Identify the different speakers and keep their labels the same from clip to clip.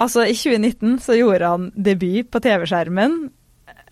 Speaker 1: Altså, i 2019 så gjorde han debut på TV-skjermen.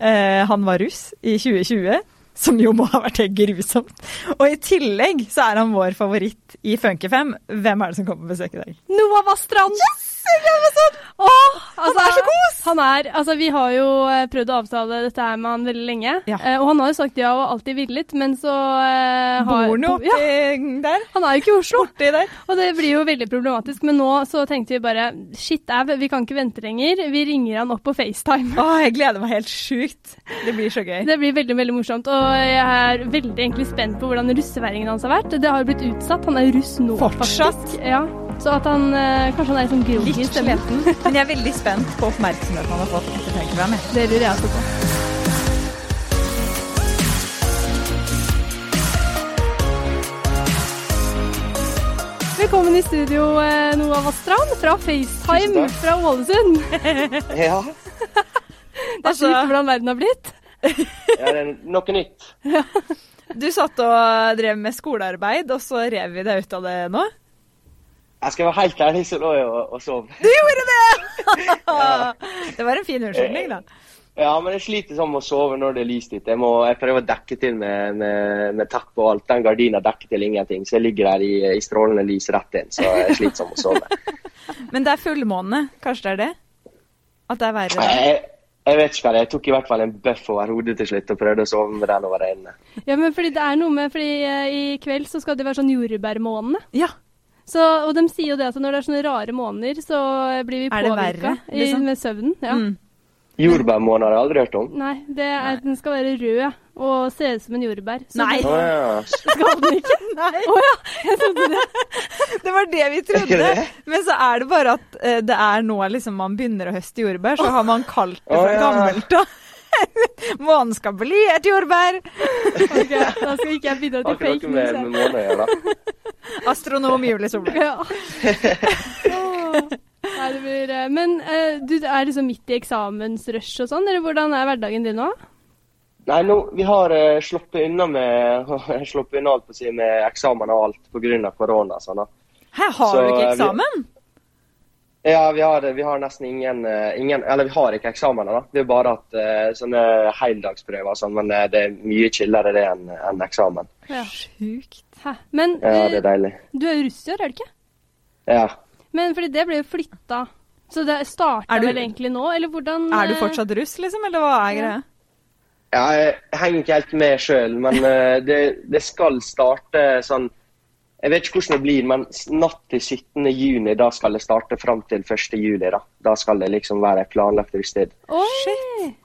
Speaker 1: Eh, han var russ i 2020, som jo må ha vært helt grusomt. Og i tillegg så er han vår favoritt i Funky 5. Hvem er det som kommer på besøk i dag?
Speaker 2: Noah Vastrand! Yes!
Speaker 1: sånn!
Speaker 2: Åh, altså,
Speaker 1: er så
Speaker 2: kos! Han er, altså, vi har jo eh, prøvd å avtale dette her med han veldig lenge.
Speaker 1: Ja.
Speaker 2: Eh, og han har jo sagt ja og alltid villet, men så eh, har,
Speaker 1: Bor han jo oppi
Speaker 2: Ja,
Speaker 1: der?
Speaker 2: han er jo ikke i Oslo.
Speaker 1: Borti der?
Speaker 2: Og det blir jo veldig problematisk, men nå så tenkte vi bare shit au, vi kan ikke vente lenger. Vi ringer han opp på FaceTime.
Speaker 1: Å, jeg gleder meg helt sjukt. Det blir så gøy.
Speaker 2: Det blir veldig veldig morsomt, og jeg er veldig egentlig spent på hvordan russeværingen hans har vært. Det har jo blitt utsatt, han er russ nå
Speaker 1: Fortsatt?
Speaker 2: faktisk. Ja. Så at han eh, Kanskje han er litt sånn groggy i
Speaker 1: Litt
Speaker 2: stemmen.
Speaker 1: sliten. Men jeg er veldig spent på oppmerksomheten han har fått etter Funky 5. jeg.
Speaker 2: Det lurer jeg også på. Velkommen i studio, eh, Noah Vastrand fra
Speaker 3: Tusen
Speaker 2: FaceTime
Speaker 3: takk.
Speaker 2: fra Ålesund.
Speaker 3: Ja,
Speaker 2: Det er
Speaker 1: Altså-
Speaker 2: sjukt hvordan verden har blitt.
Speaker 3: ja det er noe nytt.
Speaker 1: Du satt og drev med skolearbeid, og så rev vi deg ut av det nå.
Speaker 3: Jeg skal være helt ærlig, så lå jeg og, og sov.
Speaker 1: Du gjorde det! det var en fin unnskyldning, da.
Speaker 3: Ja, men jeg sliter sånn med å sove når det er lyst ute. Jeg, må, jeg prøver å dekke til med, med, med teppe og alt. Den gardina dekker til ingenting, så jeg ligger der i, i strålende lys rett inn. Så jeg sliter sånn med å sove.
Speaker 1: Men det er fullmåne, kanskje det er det? At det er verre? da?
Speaker 3: Jeg, jeg vet ikke hva det er. Jeg tok i hvert fall en bøff over hodet til slutt og prøvde å sove med den over øynene.
Speaker 2: Ja, men fordi det er noe med, fordi eh, i kveld så skal det være sånn jordbærmåned.
Speaker 1: Ja.
Speaker 2: Så, og de sier jo det at når det er sånne rare måneder, så eh, blir vi
Speaker 1: Er det
Speaker 2: påvirka
Speaker 1: verre, liksom?
Speaker 2: med søvnen. Ja.
Speaker 1: Mm.
Speaker 3: Jordbærmåned har jeg aldri hørt om.
Speaker 2: Nei, det er, den skal være rød og se ut som en jordbær. Så
Speaker 1: Nei.
Speaker 2: det
Speaker 3: Å ja.
Speaker 2: Skal den ikke?
Speaker 1: Nei,
Speaker 2: Å ja, jeg trodde det.
Speaker 1: det var det vi
Speaker 3: Er
Speaker 1: trodde.
Speaker 3: det det?
Speaker 1: Men så er det bare at eh, det er nå liksom man begynner å høste jordbær, så har man kalt det
Speaker 3: Å,
Speaker 1: fra
Speaker 3: ja.
Speaker 1: gammelt av. Månen skal bli et jordbær!
Speaker 2: Ok, da skal ikke jeg bidra
Speaker 3: Har
Speaker 2: til
Speaker 3: ikke
Speaker 2: fake
Speaker 3: noe med, med
Speaker 2: news.
Speaker 3: måned å gjøre, da.
Speaker 1: Astronom Julie Solberg.
Speaker 2: her. Ja. Åh. Nei, det blir, eh, men eh, du er liksom midt i eksamensrush og sånn, eller hvordan er hverdagen din nå?
Speaker 3: Nei, nå, vi har eh, sluppet unna med sluppet unna alt på å si med eksamen og alt pga. korona. sånn da.
Speaker 1: Hæ, har
Speaker 3: Så,
Speaker 1: du ikke
Speaker 3: eh, vi-
Speaker 1: eksamen?
Speaker 3: Ja, vi har, vi har nesten ingen, eh, ingen Eller vi har ikke eksamener, da. Vi har bare hatt eh, sånne heldagsprøver og sånn, men eh, det er mye chillere det enn enn eksamen.
Speaker 2: Ja.
Speaker 1: Sjukt.
Speaker 2: Hæ? Men
Speaker 3: Ja,
Speaker 2: eh,
Speaker 3: det er deilig.
Speaker 2: du er jo russ i år, er du ikke?
Speaker 3: Ja.
Speaker 2: Men fordi det ble jo flytta. Så det starta
Speaker 1: Er du-
Speaker 2: vel egentlig nå, eller hvordan
Speaker 1: Er du
Speaker 2: eh,
Speaker 1: fortsatt russ, liksom, eller hva er greia?
Speaker 3: ja jeg henger ikke helt med sjøl, men eh, det, det skal starte sånn Jeg vet ikke hvordan det blir, men s- natt til 17. juni, da skal det starte fram til 1. juli. Da Da skal det liksom være planlagt russetid.
Speaker 2: eh, Oi!
Speaker 1: Shit.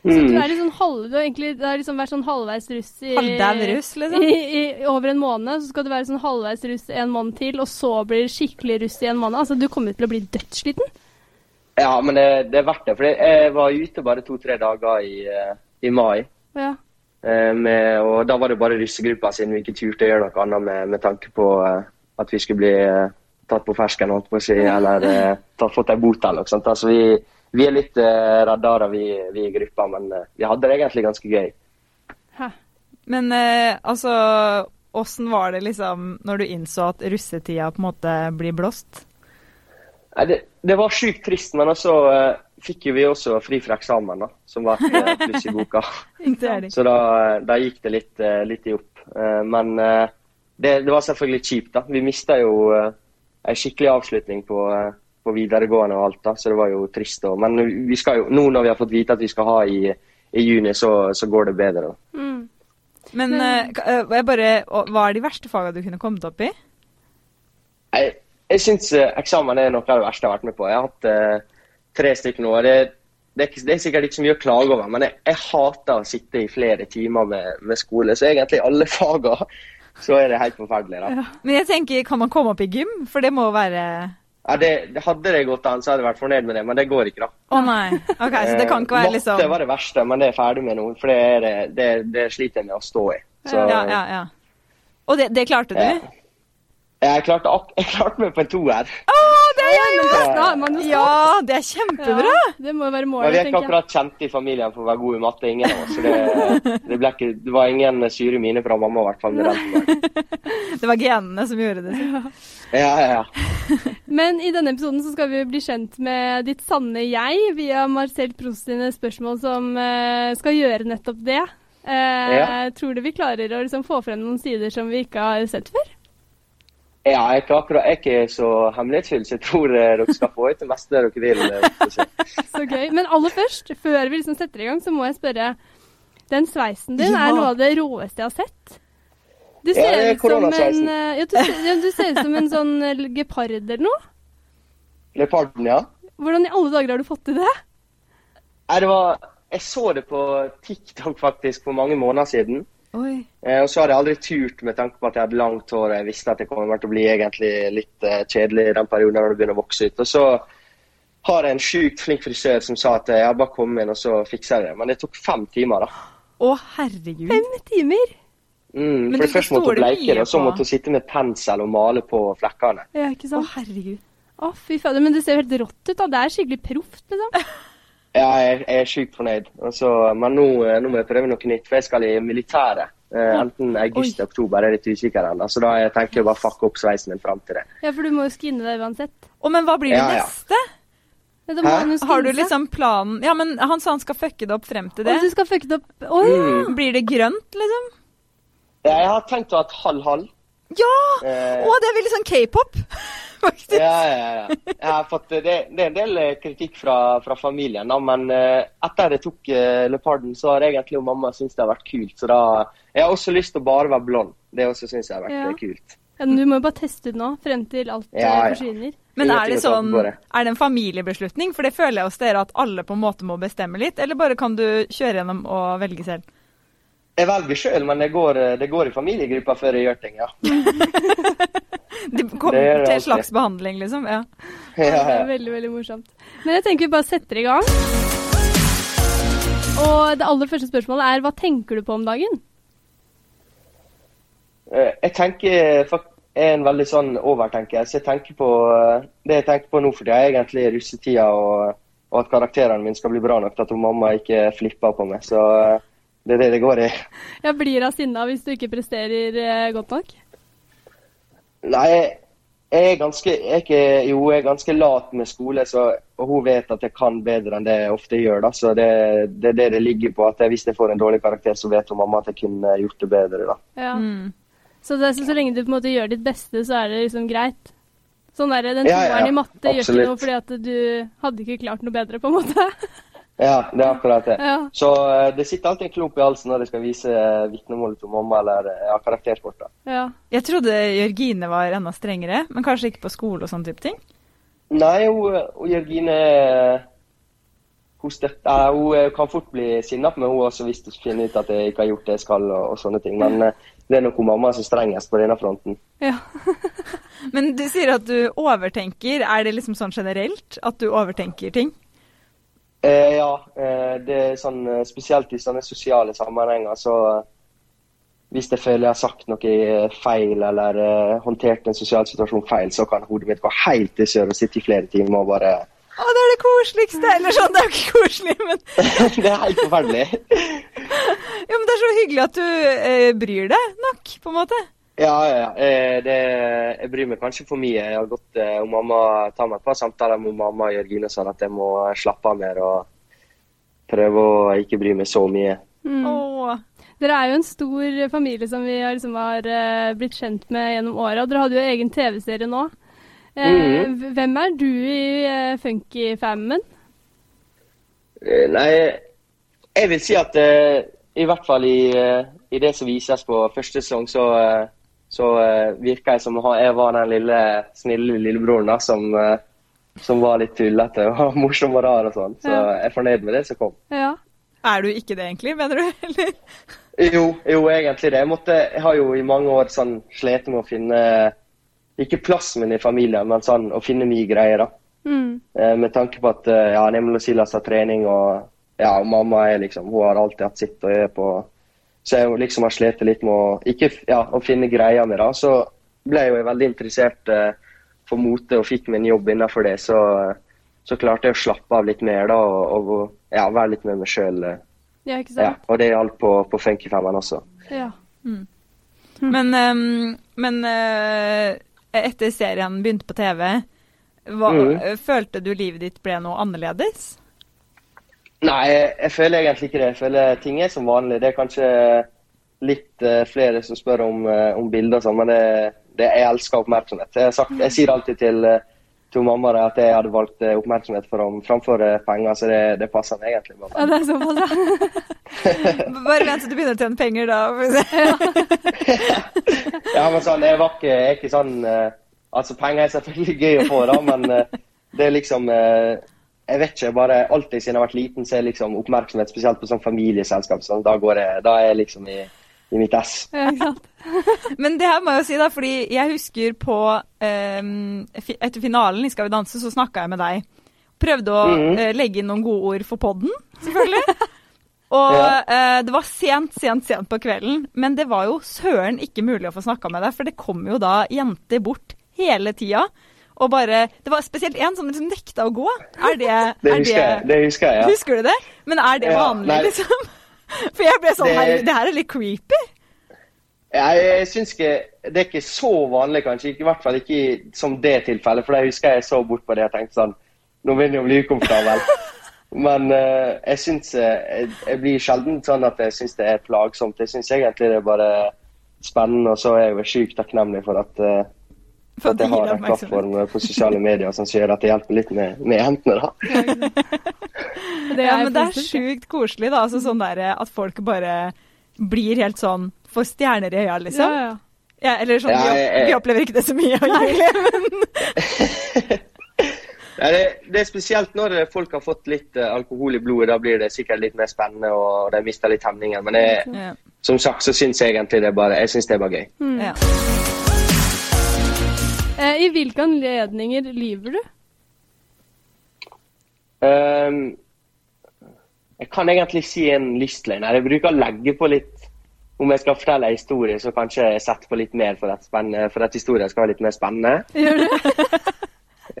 Speaker 2: Så du
Speaker 3: Mm.
Speaker 2: er liksom halv, du har egentlig du har liksom vært sånn halvveis russ i
Speaker 1: Halvdau russ, liksom?
Speaker 2: I, i, i over en måned, så skal du være sånn halvveis russ en måned til, og så blir du skikkelig russ i en måned. Altså, du kommer til å bli dødssliten.
Speaker 3: Ja, men det, det er verdt det. For jeg var ute bare to-tre dager i, eh, i mai.
Speaker 2: Ja.
Speaker 3: Eh, Med, og da var det bare russegruppa, siden vi ikke turte å gjøre noe annet med, med tanke på eh, at vi skulle bli eh, tatt på fersken, holdt på å si, eller eh, tatt, fått ei bot eller noe sånt. Altså, vi, vi er litt uh, radarer, vi, vi i gruppa, men eh, vi hadde det egentlig ganske gøy.
Speaker 2: Hæ.
Speaker 1: Men eh, altså, åssen var det liksom når du innså at russetida på en måte blir blåst?
Speaker 3: Nei, det, det var sjukt trist, men også eh, fikk jo vi også fri fra eksamen, da, som var et eh, pluss i boka.
Speaker 1: Det er det.
Speaker 3: Så da, da gikk det litt, eh, litt i opp. Eh, Men eh, det, det var selvfølgelig kjipt, da. Vi mista jo eh, en skikkelig avslutning på, eh, på videregående og alt, da, så det var jo trist. Da. Men vi skal jo, nå når vi har fått vite at vi skal ha i, i juni, så, så går det bedre. Da.
Speaker 2: Mm.
Speaker 1: Men eh, k- eh, jeg bare, og, hva er de verste faga du kunne kommet opp i?
Speaker 3: Jeg, jeg syns eh, eksamen er noe av det verste jeg har vært med på. Jeg har hatt eh, tre stykker nå. og Det, det, er ikke- det er sikkert ikke så mye å klage over, men jeg, jeg hater å sitte i flere timer med, med skole. Så egentlig i alle fagene så er det helt forferdelig. da.
Speaker 1: Men jeg tenker, kan man komme opp i gym? For det må være
Speaker 3: Ja, det, det hadde det gått an, så hadde jeg vært fornøyd med det, men det går ikke, da.
Speaker 1: Å nei. OK, så det kan ikke
Speaker 3: Eh,
Speaker 1: være liksom
Speaker 3: Matte var det verste, men det er jeg ferdig med nå, for det, er, det- det, det sliter jeg med å stå i. Så
Speaker 1: Ja, ja, ja. Og det, det klarte du?
Speaker 3: Ja. jeg, klarte ak jeg klarte meg på en toer.
Speaker 1: Å, det
Speaker 2: ja, men det har man jo
Speaker 1: Ja, det er kjempebra!
Speaker 2: Ja, det må jo være
Speaker 3: Men
Speaker 2: målet,
Speaker 3: vi er ikke
Speaker 2: tenker jeg.
Speaker 3: akkurat kjente i familien for å være god i matte, ingen av oss. Så det, det, ble ikke, det var ingen sure mine fra mamma, i hvert fall. med den tilbake.
Speaker 1: Det var genene som gjorde det.
Speaker 3: Ja, ja, ja.
Speaker 2: Men i denne episoden så skal vi bli kjent med ditt sanne jeg via Marcel Proust sine spørsmål som eh, skal gjøre nettopp det. Eh,
Speaker 3: Ja.
Speaker 2: Tror du vi klarer å liksom få frem noen sider som vi ikke har sett før?
Speaker 3: ja jeg, er ikke akkurat, jeg er ikke så hemmelighetsfull, så jeg tror eh, dere skal få ut det meste dere vil. eh, får se.
Speaker 2: Så gøy. Men aller først, før vi liksom setter i gang, så må jeg spørre. Den sveisen din
Speaker 1: Ja.
Speaker 2: er noe av det råeste jeg har sett. Du
Speaker 3: Ja,
Speaker 2: ser
Speaker 3: det er
Speaker 2: ut som en
Speaker 3: koronasveisen.
Speaker 2: eh, ja, du, ser- ja, du ser ut som en sånn eh, gepard eller noe.
Speaker 3: Leoparden, ja.
Speaker 2: Hvordan i alle dager har du fått til det?
Speaker 3: Nei, det var, jeg så det på TikTok faktisk for mange måneder siden.
Speaker 1: Oi.
Speaker 3: Eh, og så hadde jeg aldri turt med tanke på at jeg hadde langt hår og jeg visste at det kom til å bli egentlig litt eh, kjedelig i den perioden når det begynner å vokse ut. Og så har jeg en sjukt flink frisør som sa at eh, jeg bare kom inn og så fikser jeg det. Men det tok fem timer, da.
Speaker 1: Å, herregud.
Speaker 2: Fem timer.
Speaker 3: Mm,
Speaker 1: Men
Speaker 3: for det
Speaker 1: du
Speaker 3: første måtte
Speaker 1: stoler
Speaker 3: hun bleike
Speaker 1: mye
Speaker 3: det, og så
Speaker 1: på-
Speaker 3: måtte hun sitte med pensel og male på flekkene.
Speaker 2: Ja, ikke
Speaker 1: Å,
Speaker 2: sant?
Speaker 1: herregud.
Speaker 2: Å, fy fader. Men det ser jo helt rått ut, da. Det er skikkelig proft, liksom.
Speaker 3: Ja, jeg, jeg er sjukt fornøyd. Og så- men nå, eh, nå må jeg prøve noe nytt, for jeg skal i militæret. Eh, enten august eller oktober, jeg er litt usikker ennå. Så da jeg tenker jeg bare fucke opp sveisen min fram til det.
Speaker 2: Ja, for du må jo skinne deg uansett.
Speaker 1: Å, men hva blir det
Speaker 3: Ja, ja.
Speaker 1: neste?
Speaker 2: Ja, da må
Speaker 3: Hæ?
Speaker 2: han jo skinne
Speaker 1: Har du
Speaker 2: seg.
Speaker 1: liksom planen Ja, men han sa han skal fucke det opp frem til det. Mm.
Speaker 2: Å, du skal fucke det opp. Å ja.
Speaker 1: Blir det grønt, liksom?
Speaker 3: Ja, Jeg har tenkt å ha et halv-halv.
Speaker 1: Ja!
Speaker 3: Eh.
Speaker 1: Å, det er veldig sånn k-pop, faktisk.
Speaker 3: Ja, ja, ja. Jeg har fått, det, det er en del eh, kritikk fra, fra familien, da, men eh, etter jeg tok eh, leoparden, så har egentlig og mamma syntes det har vært kult. Så da Jeg har også lyst til å bare være blond. Det også syns jeg har vært
Speaker 2: Ja.
Speaker 3: eh, kult.
Speaker 2: ja men du må jo bare teste ut nå, frem til alt eh,
Speaker 3: Ja, ja.
Speaker 2: forsvinner.
Speaker 1: Men er det
Speaker 3: Ingenting å tape
Speaker 1: sånn
Speaker 3: på
Speaker 1: Er
Speaker 3: det.
Speaker 1: det en familiebeslutning? For det føler jeg hos dere at alle på en måte må bestemme litt, eller bare kan du kjøre gjennom og velge selv?
Speaker 3: Jeg velger sjøl, men det går, eh, det går i familiegruppa før jeg gjør ting, ja.
Speaker 1: Det kommer
Speaker 3: Det
Speaker 1: til
Speaker 3: gjør det
Speaker 1: en
Speaker 3: alltid.
Speaker 1: slags behandling, liksom. Ja.
Speaker 3: ja,
Speaker 2: Det
Speaker 3: ja.
Speaker 2: er veldig, veldig morsomt. Men jeg tenker vi bare setter i gang. Og det aller første spørsmålet er hva tenker du på om dagen?
Speaker 3: Eh, Jeg tenker fak- jeg er en veldig sånn overtenker, så jeg tenker på eh, det jeg tenker på nå for tida, er egentlig russetida og, og at karakterene mine skal bli bra nok til at hun mamma ikke flipper på meg. Så eh, det er det det går i.
Speaker 2: Jeg blir av sinna hvis du ikke presterer eh, godt nok.
Speaker 3: Nei, jeg- jeg er ganske jeg er ikke, Jo, jeg er ganske lat med skole, så, og hun vet at jeg kan bedre enn det jeg ofte gjør. da, Så det er det, er det det ligger på. at jeg, Hvis jeg får en dårlig karakter, så vet hun mamma at jeg kunne gjort det bedre. da.
Speaker 2: Ja.
Speaker 1: Mm.
Speaker 2: Så, det, er så, så lenge du på en måte gjør ditt beste, så er det liksom greit. Sånn der, Den
Speaker 3: Ja, ja,
Speaker 2: toeren i matte gjør
Speaker 3: absolutt.
Speaker 2: ikke noe fordi at du hadde ikke klart noe bedre, på en måte.
Speaker 3: Ja, det er akkurat det.
Speaker 2: Ja.
Speaker 3: Så eh, det sitter alltid en klump i halsen når jeg skal vise eh, vitnemålet til mamma eller eh, ja, karakterkortet.
Speaker 2: Ja.
Speaker 1: Jeg trodde Jørgine var enda strengere, men kanskje ikke på skole og sånn type ting.
Speaker 3: Nei, hun, hun Jørgine eh, hun, støt- eh, hun eh, kan fort bli sinna på meg, hun også, hvis hun finner ut at jeg ikke har gjort det jeg skal og, og sånne ting. Men eh, det er nok hun mamma som er strengest på denne fronten.
Speaker 2: ja.
Speaker 1: Men du sier at du overtenker. Er det liksom sånn generelt at du overtenker ting?
Speaker 3: Eh, ja, eh, det er sånn eh, spesielt i sånne sosiale sammenhenger, så eh, hvis jeg føler jeg har sagt noe eh, feil eller eh, håndtert en sosial situasjon feil, så kan hodet mitt gå helt til sør og sitte i flere timer og bare
Speaker 1: Å, det er det koseligste! Eller sånn, det er jo ikke koselig, men
Speaker 3: Det er helt forferdelig.
Speaker 1: Jo, men det er så hyggelig at du eh, bryr deg nok, på en måte.
Speaker 3: Ja, ja, ja. Eh, Det, jeg bryr meg kanskje for mye. Jeg har gått, eh, og mamma tar meg et par samtaler med mamma og Jørgine og sånn at jeg må slappe av mer og prøve å ikke bry meg så mye.
Speaker 2: Mm.
Speaker 1: Åh.
Speaker 2: Dere er jo en stor familie som vi har, liksom har eh, blitt kjent med gjennom åra. Dere hadde jo egen TV-serie nå. Eh,
Speaker 3: Mhm.
Speaker 2: v- Hvem er du i eh, Funky-famen?
Speaker 3: Eh, Nei, jeg vil si at eh, i hvert fall i, eh, i det som vises på første sesong, så, eh, så eh, virker jeg som å ha- jeg var den lille, snille lillebroren da, som, eh, som var litt tullete og morsom og rar og sånn. Så
Speaker 2: Ja.
Speaker 3: jeg er fornøyd med det som kom.
Speaker 2: Ja.
Speaker 1: Er du ikke det, egentlig? Mener du? Eller?
Speaker 3: Jo, jo, egentlig det. Jeg, måtte, jeg har jo i mange år sånn slitt med å finne Ikke plassen min i familien, men sånn å finne mye greier. da.
Speaker 2: Mm.
Speaker 3: Eh, Med tanke på at eh, ja, Nemel og Silas har trening, og ja, og mamma er liksom, hun har alltid hatt sitt og er på Så jeg liksom har slitt litt med å, ikke, f- ja, å finne greia mi. da. Så ble jeg jo veldig interessert eh, for mote og fikk meg en jobb innenfor det, så, eh, så klarte jeg å slappe av litt mer da, og, og ja, være litt med meg sjøl.
Speaker 2: Ja, ikke
Speaker 3: Ja,
Speaker 2: sant?
Speaker 3: og det gjaldt på, på Funkyfemmeren også.
Speaker 2: Ja.
Speaker 1: Men, ehm, men eh, etter serien begynte på TV, hva, eh,
Speaker 3: Mhm.
Speaker 1: følte du livet ditt ble noe annerledes?
Speaker 3: Nei, jeg, jeg føler egentlig ikke det. Jeg føler ting er som vanlig. Det er kanskje litt eh, flere som spør om, eh, om bilder og sånn, men det, det, jeg elsker oppmerksomhet. Jeg, har sagt, jeg sier alltid til, eh, til mamma da at jeg hadde valgt eh, oppmerksomhet for dem framfor eh, penger, så det, det passer meg egentlig. Bare.
Speaker 2: ja, det er såpass, ja.
Speaker 1: Bare vent til du begynner å tjene penger, da.
Speaker 3: Ja, men sånn, jeg var ikke, jeg er ikke sånn eh, Altså, penger er selvfølgelig gøy å få, da, men eh, det er liksom eh, Jeg vet ikke, bare alltid siden jeg har vært liten, så er liksom oppmerksomhet spesielt på sånn familieselskap. Sånn, da, går jeg, da er jeg liksom i, i mitt ess.
Speaker 2: ja ikke sant?
Speaker 1: Men det her må jeg jo si, da, fordi jeg husker på ehm, fi- Etter finalen i Skal vi danse, så snakka jeg med deg. Prøvde å
Speaker 3: Mhm.
Speaker 1: eh, legge inn noen gode ord for podden, selvfølgelig. Og
Speaker 3: Ja.
Speaker 1: eh, det var sent, sent, sent på kvelden, men det var jo søren ikke mulig å få snakka med deg, for det kom jo da jenter bort hele tida. Og bare Det var spesielt én som liksom nekta å gå. Er det,
Speaker 3: Det
Speaker 1: er
Speaker 3: husker jeg. Det husker jeg, ja.
Speaker 1: Husker du det? Men er det
Speaker 3: Ja,
Speaker 1: vanlig,
Speaker 3: nei.
Speaker 1: liksom? For jeg ble sånn
Speaker 3: Det-
Speaker 1: Herregud, det her er litt creepy.
Speaker 3: Jeg, jeg syns ikke Det er ikke så vanlig, kanskje. Ikke, I hvert fall ikke i, som det tilfellet, for jeg husker jeg så bort på det og tenkte sånn Nå begynner jeg å bli ukomfortabel. Men eh, jeg syns jeg, jeg blir sjelden sånn at jeg syns det er plagsomt. Jeg syns egentlig det er bare spennende, og så er jeg jo sjukt takknemlig for at, eh,
Speaker 1: For
Speaker 3: at jeg
Speaker 1: gir
Speaker 3: har
Speaker 1: deg
Speaker 3: en
Speaker 1: oppmerksomhet.
Speaker 3: plattform på sosiale medier som gjør at det hjelper litt med, med jentene, da.
Speaker 2: Det
Speaker 1: ja, men det er
Speaker 2: positivt, ja.
Speaker 1: sjukt koselig, da. Altså, sånn der, at folk bare blir helt sånn Får stjerner i øya, liksom.
Speaker 2: Ja,
Speaker 1: Ja,
Speaker 2: ja.
Speaker 1: eller sånn,
Speaker 3: Ja,
Speaker 1: vi,
Speaker 3: jeg- jeg-
Speaker 1: opp, vi opplever ikke det så mye, egentlig. Men,
Speaker 3: Ja, det, det er spesielt når eh, folk har fått litt eh, alkohol i blodet. Da blir det sikkert litt mer spennende, og de mister litt hemningen. Men jeg,
Speaker 2: Mm.
Speaker 1: ja.
Speaker 3: Som sagt så syns jeg egentlig det er bare, jeg synes det er bare gøy.
Speaker 1: Ja.
Speaker 2: Eh, I hvilke anledninger lyver du?
Speaker 3: Ehm, jeg kan egentlig si en lystløgn. her. Jeg bruker å legge på litt Om jeg skal fortelle en historie, så kanskje jeg setter på litt mer for at, spenn- for at historien skal være litt mer spennende.
Speaker 2: Gjør du det?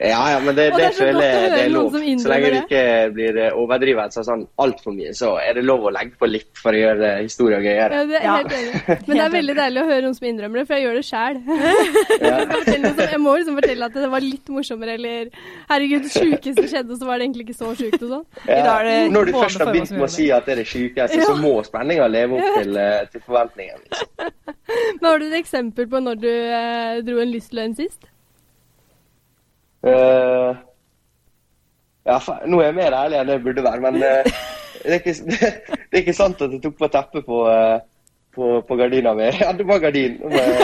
Speaker 3: Ja, ja, men det,
Speaker 2: Og det
Speaker 3: det,
Speaker 2: er så
Speaker 3: føler
Speaker 2: godt å
Speaker 3: jeg
Speaker 2: høre
Speaker 3: det er
Speaker 2: noen
Speaker 3: lov.
Speaker 2: som innrømmer
Speaker 3: Så lenge det
Speaker 2: det.
Speaker 3: ikke blir eh, overdrivelse sånn altfor mye, så er det lov å legge på litt for å gjøre eh, historien gøyere.
Speaker 2: Ja, det er
Speaker 1: Ja.
Speaker 2: helt enig. Men det er veldig deilig å høre noen som innrømmer det, for jeg gjør det sjæl.
Speaker 3: Ja.
Speaker 2: Jeg må liksom fortelle at det var litt morsommere, eller herregud, det sjukeste skjedde, og så var det egentlig ikke så sjukt og sånn.
Speaker 1: I dag er det
Speaker 3: Når du
Speaker 1: både
Speaker 3: først har
Speaker 1: formål
Speaker 3: begynt
Speaker 1: som
Speaker 3: med å
Speaker 1: gjør
Speaker 3: si at det er det sykeste, så må spenninga leve opp til, eh, til forventningene. Liksom.
Speaker 2: Men har du et eksempel på når du eh, dro en lystløgn sist?
Speaker 3: Eh, ja, fa- nå er jeg mer ærlig enn jeg burde være, men eh, det, er ikke, det er ikke sant at jeg tok på teppet på, eh, på, på gardina mi. Ja, det var gardin. Men,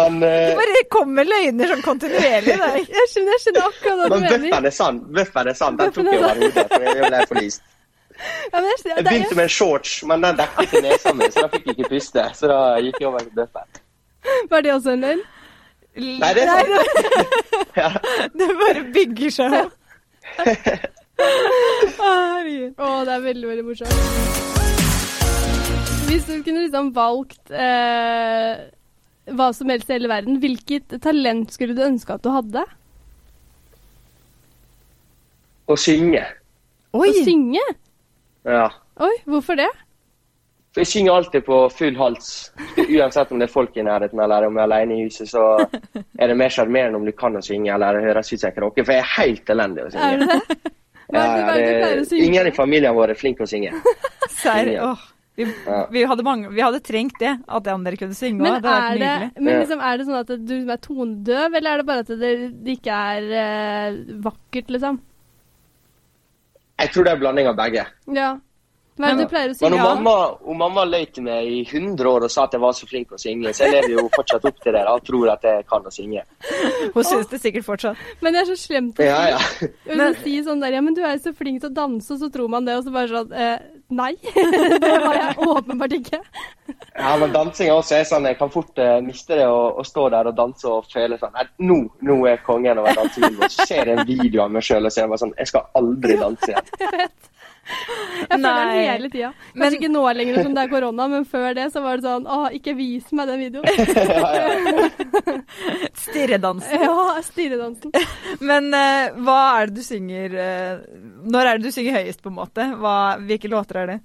Speaker 3: men,
Speaker 1: Det
Speaker 3: eh,
Speaker 1: bare kommer løgner sånn kontinuerlig. Det er
Speaker 2: Jeg skjønner, jeg skjønner akkurat hva du
Speaker 3: men
Speaker 2: mener.
Speaker 3: bøffen er sann. Bøffen er sann. Den tok
Speaker 2: Bøffen er
Speaker 3: jeg over hodet. for Jeg ble forlist.
Speaker 2: Ja, men jeg, skjønner-
Speaker 3: Jeg
Speaker 2: det
Speaker 3: begynte med en shorts, men den dekket ikke nesa mi, så da fikk jeg ikke puste. Så da gikk jeg over til bøffen.
Speaker 2: er- var det også en løgn?
Speaker 3: Nei, det er sant. Ja.
Speaker 1: Det bare bygger seg opp. Å, Herregud.
Speaker 2: Å, det er veldig, veldig morsomt. Hvis du kunne liksom valgt eh, hva som helst i hele verden, hvilket talent skulle du ønske at du hadde?
Speaker 3: Å synge.
Speaker 1: Oi!
Speaker 2: Å synge?
Speaker 3: Ja.
Speaker 2: Oi, hvorfor det?
Speaker 3: For jeg synger alltid på full hals. Uansett om det er folk i nærheten eller om jeg er alene i huset, så er det mer sjarmerende om du kan å synge eller det høres ut som en kråke, for jeg er helt elendig å
Speaker 2: Er
Speaker 3: synge.
Speaker 2: det det? Hva er det, hva er det du pleier å synge?
Speaker 3: ingen i familien vår er flink å synge.
Speaker 1: Serr.
Speaker 3: Ja.
Speaker 1: Åh. Vi,
Speaker 3: Ja.
Speaker 1: vi, hadde mange, vi hadde trengt det, at de andre kunne synge
Speaker 2: Men,
Speaker 1: òg. Det
Speaker 2: er
Speaker 1: hadde vært
Speaker 2: det,
Speaker 1: nydelig.
Speaker 2: men
Speaker 3: Ja.
Speaker 2: liksom, er det sånn at du er tonedøv, eller er det bare at det, det ikke er eh, vakkert, liksom?
Speaker 3: Jeg tror det er en blanding av begge.
Speaker 2: Ja. Hva er det du pleier å
Speaker 3: Men
Speaker 2: synge?
Speaker 3: hun
Speaker 1: Ja.
Speaker 3: mamma, hun mamma løy til meg i 100 år og sa at jeg var så flink å synge, så jeg lever jo fortsatt opp til det da, og tror at jeg kan å synge.
Speaker 1: Hun syns det sikkert fortsatt.
Speaker 2: Men det er så slemt å si.
Speaker 3: Ja, ja.
Speaker 2: Og så si sånn der, ja, men du er jo så flink til å danse, og så tror man det, og så bare sånn, eh, nei, det var jeg åpenbart ikke.
Speaker 3: Ja, men dansing også er sånn, jeg kan fort eh, miste det og, og stå der og danse og føle sånn, nei, nå, nå er jeg kongen og jeg danser videre. Så ser jeg en video av meg selv og ser bare sånn, jeg skal aldri danse igjen.
Speaker 2: Jeg føler den
Speaker 1: Nei.
Speaker 2: hele tida. Kanskje
Speaker 1: Men-
Speaker 2: ikke nå lenger som det er korona, men før det så var det sånn Å, ikke vis meg den videoen.
Speaker 1: Stirredans.
Speaker 2: ja, stirredansen.
Speaker 1: Men eh, hva er det du synger eh, Når er det du synger høyest, på en måte? Hva, hvilke låter er det?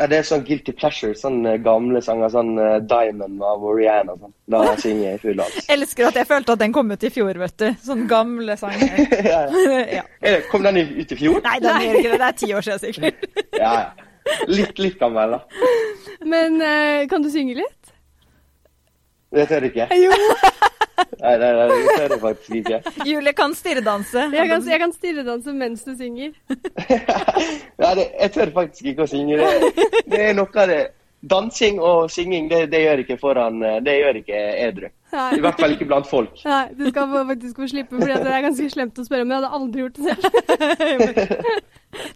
Speaker 3: Ja, det er sånn guilty pleasure. Sånn eh, gamle sanger. Sånn eh, Diamond av Rihanna og sånn. Da synger jeg i full hals.
Speaker 1: Elsker at jeg følte at den kom ut i fjor, vet du. Sånn gamle sanger.
Speaker 3: ja. ja.
Speaker 1: ja.
Speaker 3: Er det- Kom den i- ut i fjor?
Speaker 1: Nei, den gjør ikke det. Det er ti år siden, sikkert.
Speaker 3: Ja, ja. Litt, litt gammel, da.
Speaker 2: Men eh, kan du synge litt?
Speaker 3: Det tør jeg ikke.
Speaker 2: Jo.
Speaker 3: Nei, nei, nei, det tør jeg faktisk ikke.
Speaker 1: Julie kan stirredanse.
Speaker 2: Jeg kan, jeg kan stirredanse mens du synger.
Speaker 3: Nei, det, jeg tør faktisk ikke å synge. Det, det er noe av det Dansing og synging, det, det gjør jeg ikke foran eh, Det gjør jeg ikke edru.
Speaker 2: Nei.
Speaker 3: I hvert fall ikke blant folk.
Speaker 2: Nei, du skal få- faktisk få slippe, for det er ganske slemt å spørre om. Jeg hadde aldri gjort det selv.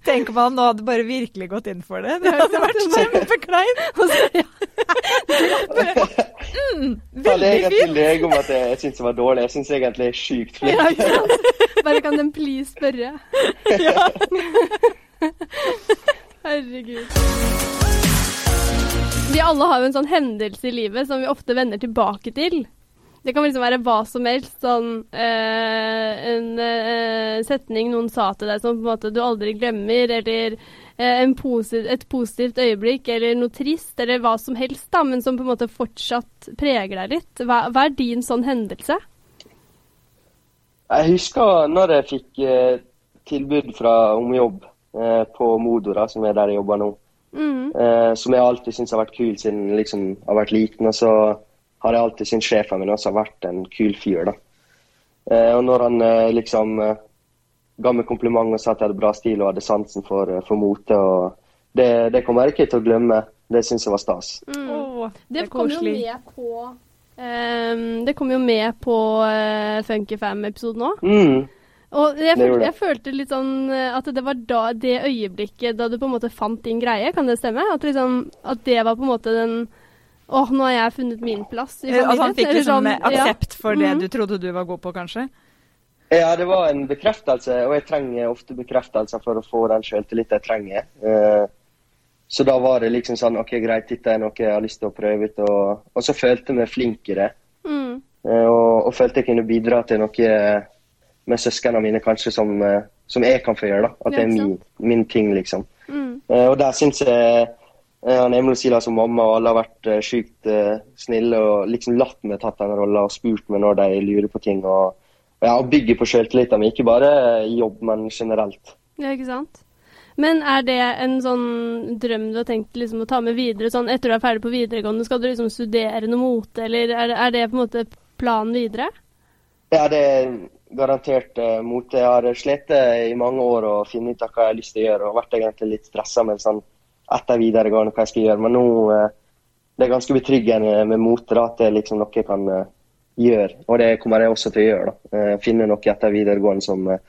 Speaker 1: Tenk om han nå hadde bare virkelig gått inn for det. Det hadde vært kjempekleint.
Speaker 2: Og så- ja.
Speaker 3: Ta
Speaker 1: Mm, Veldig
Speaker 3: legen til
Speaker 1: fint.
Speaker 3: lege om at jeg, jeg syns det var dårlig. Jeg syns egentlig det er sjukt flink.
Speaker 2: Ja, ikke sant? Bare kan den please spørre? Herregud. Vi alle har jo en sånn hendelse i livet som vi ofte vender tilbake til. Det kan liksom være hva som helst. Sånn eh, en eh, setning noen sa til deg som på en måte du aldri glemmer, eller eh, en posi- et positivt øyeblikk, eller noe trist, eller hva som helst, da, men som på en måte fortsatt preger deg litt. Hva, hva er din sånn hendelse?
Speaker 3: Jeg husker når jeg fikk eh, tilbud fra om jobb eh, på Modo, da, som er der jeg jobber nå.
Speaker 2: Mm.
Speaker 3: Eh, som jeg alltid syns har vært kul siden liksom, jeg har vært liten. Og så har jeg alltid syntes sjefen min også har vært en kul fyr. da. Eh, og når han eh, liksom eh, ga meg kompliment og sa at jeg hadde bra stil og hadde sansen for, eh, for mote, og det, det kommer jeg ikke til å glemme. Det syns jeg var stas.
Speaker 1: Åh,
Speaker 2: Det,
Speaker 1: er
Speaker 2: kom jo
Speaker 1: koselig.
Speaker 2: med på ehm, Det kom jo med på eh, Funky Fam-episoden òg.
Speaker 3: Mm.
Speaker 2: Og jeg
Speaker 3: Det gjorde
Speaker 2: følte,
Speaker 3: det.
Speaker 2: jeg følte litt sånn eh, at det var da, det øyeblikket da du på en måte fant din greie, kan det stemme? At, liksom, at det var på en måte den Åh, nå har jeg funnet min plass i familien.
Speaker 1: At han fikk
Speaker 2: eller
Speaker 1: liksom
Speaker 2: sånn, ja.
Speaker 1: aksept for det
Speaker 2: Mhm.
Speaker 1: du trodde du var god på, kanskje?
Speaker 3: Ja, det var en bekreftelse, og jeg trenger ofte bekreftelser for å få den selvtilliten jeg trenger. Eh, Så da var det liksom sånn OK, greit, dette er noe jeg har lyst til å prøve ut. Og, og så følte jeg meg flink i det.
Speaker 2: Mm.
Speaker 3: eh, Og, og følte jeg kunne bidra til noe eh, med søsknene mine kanskje som, eh, som jeg kan få gjøre. da, At
Speaker 2: Ja,
Speaker 3: det er
Speaker 2: ikke
Speaker 3: min, min ting, liksom.
Speaker 2: Mm.
Speaker 3: Eh, Og der syns jeg eh, han Emil og Silas og mamma og alle har vært eh, sjukt eh, snille og liksom latt meg tatt den rolla og spurt meg når de lurer på ting. Og, og ja, og bygger på sjøltilliten min, ikke bare i jobb, men generelt.
Speaker 2: Ja, ikke sant? Men er det en sånn drøm du har tenkt liksom å ta med videre? Sånn etter du er ferdig på videregående, skal du liksom studere noe mote, eller er, det- er det på en måte planen videre?
Speaker 3: Ja, det er garantert eh, mote. Jeg har slitt eh, i mange år og funnet ut av hva jeg har lyst til å gjøre, og vært egentlig litt stressa med sånn etter videregående hva jeg skal gjøre. Men nå eh, det er ganske betryggende med mote, da, at det er liksom noe jeg kan eh, gjøre. Og det kommer jeg også til å gjøre. da. Eh, Finne noe etter videregående som, eh,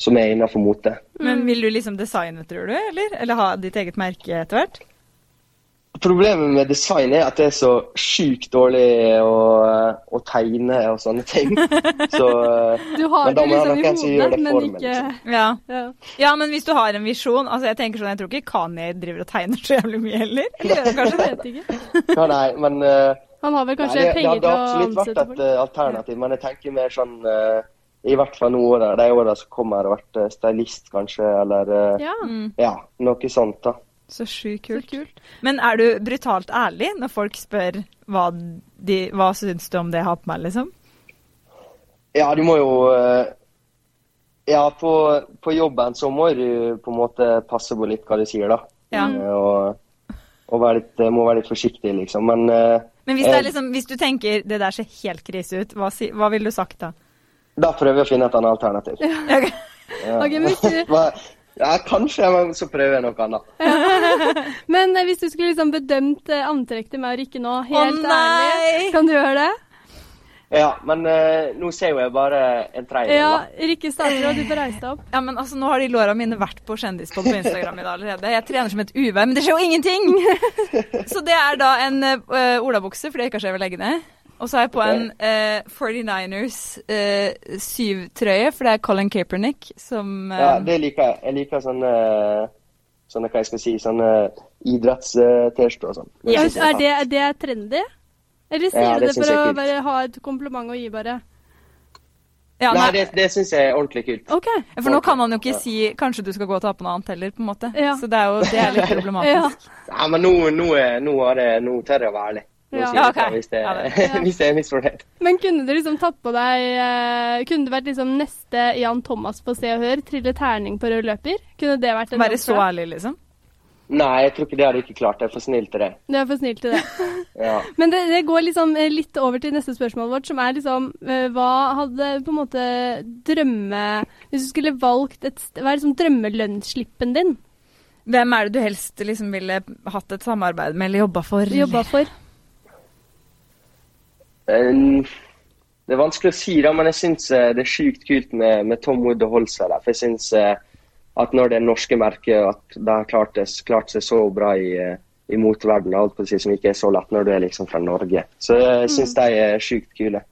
Speaker 3: som er innenfor mote.
Speaker 1: Men vil du liksom designe, tror du? Eller, eller ha ditt eget merke etter hvert?
Speaker 3: Problemet med design er at det er så sjukt dårlig å, å tegne og sånne ting. Så eh,
Speaker 2: Du har
Speaker 3: Men da
Speaker 2: det
Speaker 3: må jeg ha
Speaker 2: liksom i
Speaker 3: noen som gjør
Speaker 2: hodet,
Speaker 3: det
Speaker 2: men
Speaker 3: for meg,
Speaker 2: ikke
Speaker 3: liksom.
Speaker 1: Ja.
Speaker 2: ja.
Speaker 1: ja, men hvis du har en visjon altså Jeg tenker sånn, jeg tror ikke Kanye driver og tegner så jævlig mye heller. Eller gjør han
Speaker 2: Jeg
Speaker 1: kanskje det?
Speaker 2: vet ikke.
Speaker 3: ja, nei, men eh,
Speaker 2: Han har vel kanskje
Speaker 3: Nei, det, det
Speaker 2: penger
Speaker 3: hadde
Speaker 2: til å
Speaker 3: absolutt vært
Speaker 2: ansette
Speaker 3: et
Speaker 2: folk?
Speaker 3: eh, alternativ, men jeg tenker mer sånn eh, I hvert fall nå året, de åra som kommer, har vært eh, stylist, kanskje, eller eh,
Speaker 2: Ja,
Speaker 1: Mm.
Speaker 3: ja. noe sånt. da.
Speaker 1: Så sjukt
Speaker 2: så
Speaker 1: kult.
Speaker 2: kult.
Speaker 1: Men er du brutalt ærlig når folk spør hva, de, hva syns du om det jeg har på meg, liksom?
Speaker 3: Ja, du må jo eh, Ja, på, på jobben så må du på en måte passe på litt hva du sier, da.
Speaker 1: Ja.
Speaker 3: Eh, og og være litt, eh, må være litt forsiktig, liksom. Men eh,
Speaker 1: Men hvis, det
Speaker 3: eh,
Speaker 1: er liksom, hvis du tenker det der ser helt krise ut, hva, si, hva ville du sagt da?
Speaker 3: da prøver jeg å finne et annet alternativ. Ja.
Speaker 2: Ok, men, hvis du,
Speaker 3: Hva- ja, kanskje, men så prøver jeg noe annet.
Speaker 2: men eh, hvis du skulle liksom bedømt eh, antrekk til meg og Rikke nå, helt
Speaker 1: nei!
Speaker 2: ærlig, kan du gjøre det?
Speaker 3: Ja, men eh, nå ser jo jeg bare en tredjedel.
Speaker 2: Ja,
Speaker 3: da.
Speaker 2: Rikke starter, og du får reise deg opp.
Speaker 1: Ja, men altså, Nå har de låra mine vært på Kjendispod på Instagram i dag allerede. Jeg trener som et uvær, men det skjer jo ingenting! Så det er da en eh, olabukse, fordi jeg ikke har skjev å legge ned. Og så har jeg på en eh, 49ers eh, 7-trøye, for det er Colin Kaepernick som eh,
Speaker 2: Um,
Speaker 3: Ja, det liker jeg. Jeg liker sånne sånne hva jeg skal si, sånne idretts-T-skjorter og sånn. Det
Speaker 2: Ja,
Speaker 3: synes jeg
Speaker 2: er det, er det trendy? Eller sier
Speaker 3: Ja,
Speaker 2: du
Speaker 3: det
Speaker 2: det for
Speaker 3: synes jeg er
Speaker 2: å
Speaker 3: kult.
Speaker 2: bare ha et kompliment å gi, bare?
Speaker 1: Ja,
Speaker 3: Nei,
Speaker 1: nei,
Speaker 3: det, det syns jeg er ordentlig kult.
Speaker 2: OK.
Speaker 1: For nå kan man jo ikke si 'kanskje du skal gå og ta på noe annet' heller, på en måte.
Speaker 2: Ja.
Speaker 1: Så det er jo det er litt problematisk.
Speaker 2: Ja.
Speaker 3: Nei, men nå, nå, er, nå, er det, nå tør jeg å være ærlig. Nå
Speaker 2: Ja.
Speaker 3: sier jeg
Speaker 1: Ja, ok.
Speaker 3: fra hvis, det,
Speaker 1: Ja, det-
Speaker 2: ja.
Speaker 3: hvis jeg er misfornøyd.
Speaker 2: Men kunne du liksom tatt på deg eh, Kunne du vært liksom neste Jan Thomas på Se og Hør? Trille terning på rød løper? Kunne det vært en
Speaker 1: Være så
Speaker 2: jobb for deg?
Speaker 1: ærlig, liksom.
Speaker 3: Nei, jeg tror ikke det hadde jeg ikke klart. Jeg er for snill til det.
Speaker 2: Du er for snill til det.
Speaker 3: Ja.
Speaker 2: Men det, det går liksom eh, litt over til neste spørsmål vårt, som er liksom eh, Hva hadde på en måte drømme... Hvis du skulle valgt et st- Hva er liksom drømmelønnsslippen din?
Speaker 1: Hvem er det du helst liksom ville hatt et samarbeid med eller jobba for?
Speaker 2: Jobba for?
Speaker 3: Eh, Det er vanskelig å si, da, men jeg syns eh, det er sjukt kult med, med Tom Wood og Holsa. Der. For jeg syns eh, at når det er norske merker, at de har klart, det- klart seg så bra i, eh, i motverdenen, holdt på å si, som ikke er så lett når du er liksom fra Norge. Så jeg
Speaker 1: Mm.
Speaker 3: syns de er sjukt kule.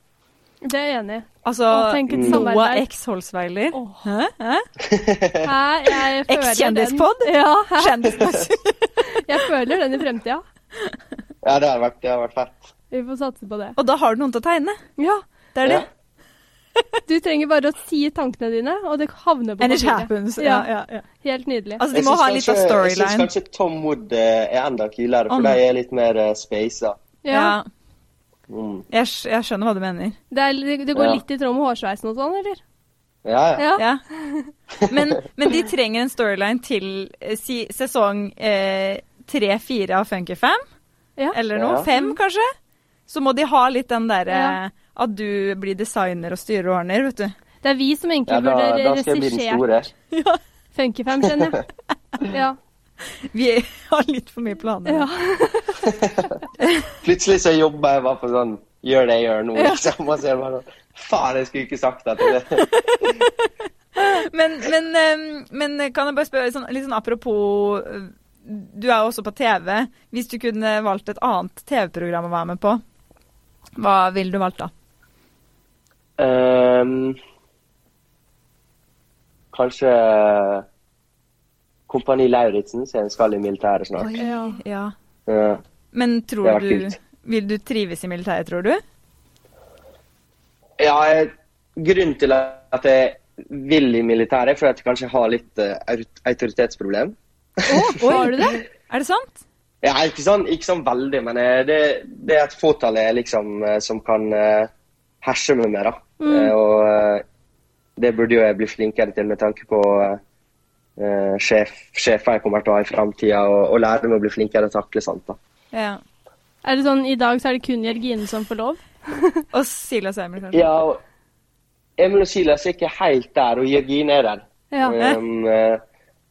Speaker 2: Det er jeg enig i. Å,
Speaker 1: Altså
Speaker 2: tenk et
Speaker 1: Noah
Speaker 2: samarbeid.
Speaker 1: X Holsweiler.
Speaker 2: Åh.
Speaker 1: Hæ? Hæ?
Speaker 2: Hæ?
Speaker 3: Eh,
Speaker 2: Jeg føler den.
Speaker 1: Ex-kjendispod?
Speaker 2: Ja, hæ?
Speaker 1: Kjendis.
Speaker 2: jeg føler den i fremtida.
Speaker 3: Ja, det har vært, det har vært fett.
Speaker 2: Vi får satse på det.
Speaker 1: Og da har du noen til å tegne.
Speaker 2: Ja,
Speaker 1: Det er det.
Speaker 2: Du trenger bare å si tankene dine, og det havner på
Speaker 1: And it
Speaker 2: papiret.
Speaker 1: happens. Ja,
Speaker 2: Ja,
Speaker 1: ja, ja.
Speaker 2: Helt nydelig.
Speaker 1: Altså, de
Speaker 3: Jeg
Speaker 1: må
Speaker 3: syns
Speaker 1: ha litt av
Speaker 3: kanskje- Jeg
Speaker 1: storyline.
Speaker 3: syns kanskje Tom Wood eh, er enda kulere, for
Speaker 1: Om-
Speaker 3: de er litt mer eh, Mm. spasa.
Speaker 2: Ja.
Speaker 1: Ja. Jeg, skj- jeg skjønner hva du mener.
Speaker 2: Det, er, det går
Speaker 3: Ja.
Speaker 2: litt i tråd med hårsveisen og sånn, eller?
Speaker 3: Ja, ja.
Speaker 2: Ja.
Speaker 1: Ja. Men, men de trenger en storyline til eh, si, sesong tre-fire av Funkyfam.
Speaker 2: Ja.
Speaker 1: Eller noe.
Speaker 3: Ja.
Speaker 1: Fem, kanskje. Så må de ha litt den derre
Speaker 2: Ja.
Speaker 1: at du blir designer og styrer og ordner, vet du.
Speaker 2: Det er vi som egentlig
Speaker 3: ja da, da
Speaker 2: burde
Speaker 3: skal jeg bli den
Speaker 2: regissert
Speaker 3: store.
Speaker 2: Funkyfam, skjønner jeg. Ja.
Speaker 1: Vi har litt for mye planer.
Speaker 2: ja.
Speaker 3: Plutselig så jobber jeg bare på sånn Gjør det jeg gjør nå, liksom. Og så er det bare sånn Faen, jeg skulle ikke sagt dette. Det.
Speaker 1: Men, men, eh, men kan jeg bare spørre sånn, litt sånn apropos eh, Du er jo også på TV. Hvis du kunne valgt et annet TV-program å være med på, hva ville du valgt da?
Speaker 3: Ehm, kanskje Kompani Lauritzen, siden jeg skal i militæret snart.
Speaker 1: Ja. ja.
Speaker 3: Ja.
Speaker 1: Men
Speaker 3: Det
Speaker 1: tror
Speaker 3: har vært
Speaker 1: du
Speaker 3: kult.
Speaker 1: Vil du trives i militæret, tror du?
Speaker 3: Ja, jeg- grunnen til at jeg vil i militæret, er fordi at jeg kanskje har litt eh, aut- autoritetsproblem.
Speaker 1: Oi.
Speaker 2: Har du det?
Speaker 1: Er det sant?
Speaker 3: Ja, ikke sånn, ikke sånn veldig, men eh, det, det er et fåtall jeg liksom, eh, som kan eh, herse med meg. da. Eh, og eh, det burde jo jeg bli flinkere til med tanke på eh, eh, sjef, sjefer jeg kommer til å ha i framtida, og, og lære meg å bli flinkere til å takle sånt. da.
Speaker 1: Ja.
Speaker 2: Er det sånn i dag så er det kun Jørgine som får lov?
Speaker 1: Og Silas og Emil, kanskje?
Speaker 3: Ja, og Emil og Silas er ikke helt der, og Jørgine er der.
Speaker 2: Ja.
Speaker 3: Um, eh,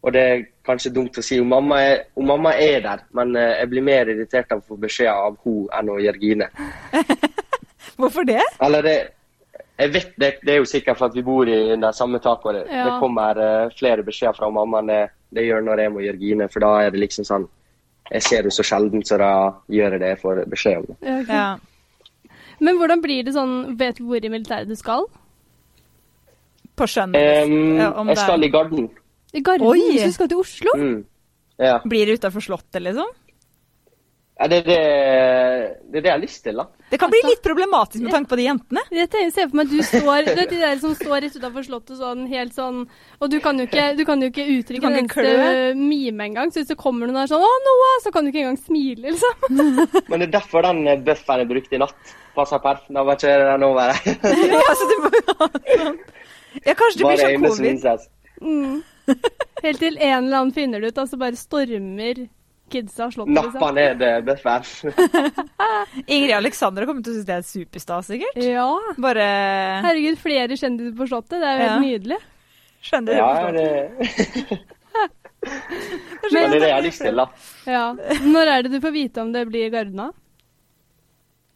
Speaker 3: og det er kanskje dumt å si. Hun mamma er, hun mamma er der, men eh, jeg blir mer irritert av å få beskjed av hun enn av Jørgine.
Speaker 1: Hvorfor det?
Speaker 3: Eller det Jeg vet det, det er jo sikkert for at vi bor i det samme taket. og Det,
Speaker 2: Ja.
Speaker 3: det kommer eh, flere beskjeder fra mamma enn det, det gjør når jeg må Jørgine. For da er det liksom sånn Jeg ser henne så sjelden, så da gjør jeg det jeg får beskjed om. det.
Speaker 2: Ja, ok.
Speaker 1: Ja.
Speaker 2: Men hvordan blir det sånn Vet du hvor i militæret du skal?
Speaker 1: På skjønn.
Speaker 3: Em,
Speaker 1: ja, om
Speaker 3: Ehm, jeg
Speaker 1: det er-
Speaker 3: skal i Garden.
Speaker 2: I Garden?
Speaker 1: Oi!
Speaker 2: Så du skal til Oslo?
Speaker 3: Mm. Ja.
Speaker 1: Blir det utafor Slottet, liksom?
Speaker 3: ja det, er det, det er det jeg har lyst til, da.
Speaker 1: Det kan bli litt problematisk med tanke på de jentene.
Speaker 2: Jeg tenker, ser for meg at du står Du vet de der som står rett utafor Slottet sånn helt sånn Og du kan jo ikke, du kan jo ikke
Speaker 1: Du
Speaker 2: uttrykke
Speaker 1: kan
Speaker 2: den
Speaker 1: ikke
Speaker 2: eneste mime engang. Så hvis det kommer noen der sånn 'Å, Noah!' så kan du ikke engang smile, liksom.
Speaker 3: Men det er derfor den eh, bufferen jeg brukte i natt, passer perfekt. Da var ikke den over.
Speaker 1: Ja, så du Altså, må sånn. Ja, kanskje det blir
Speaker 3: Bare
Speaker 1: sånn
Speaker 3: øynene som
Speaker 1: covid.
Speaker 3: vises.
Speaker 2: Mm. Helt til en eller annen finner det ut, og så bare stormer kidsa Slottet,
Speaker 3: Nappa
Speaker 2: liksom.
Speaker 3: ned eh, bufferen.
Speaker 1: Ingrid Alexandra kommer til å synes det er superstas, sikkert.
Speaker 2: liksom. Ja.
Speaker 1: Bare
Speaker 2: Herregud, flere kjendiser på Slottet. Det er jo helt nydelig.
Speaker 1: skjønner det.
Speaker 3: Ja,
Speaker 1: på Slottet.
Speaker 3: det, men det er det jeg har lyst til, da.
Speaker 2: Ja. Når er det du får vite om det blir Gardena?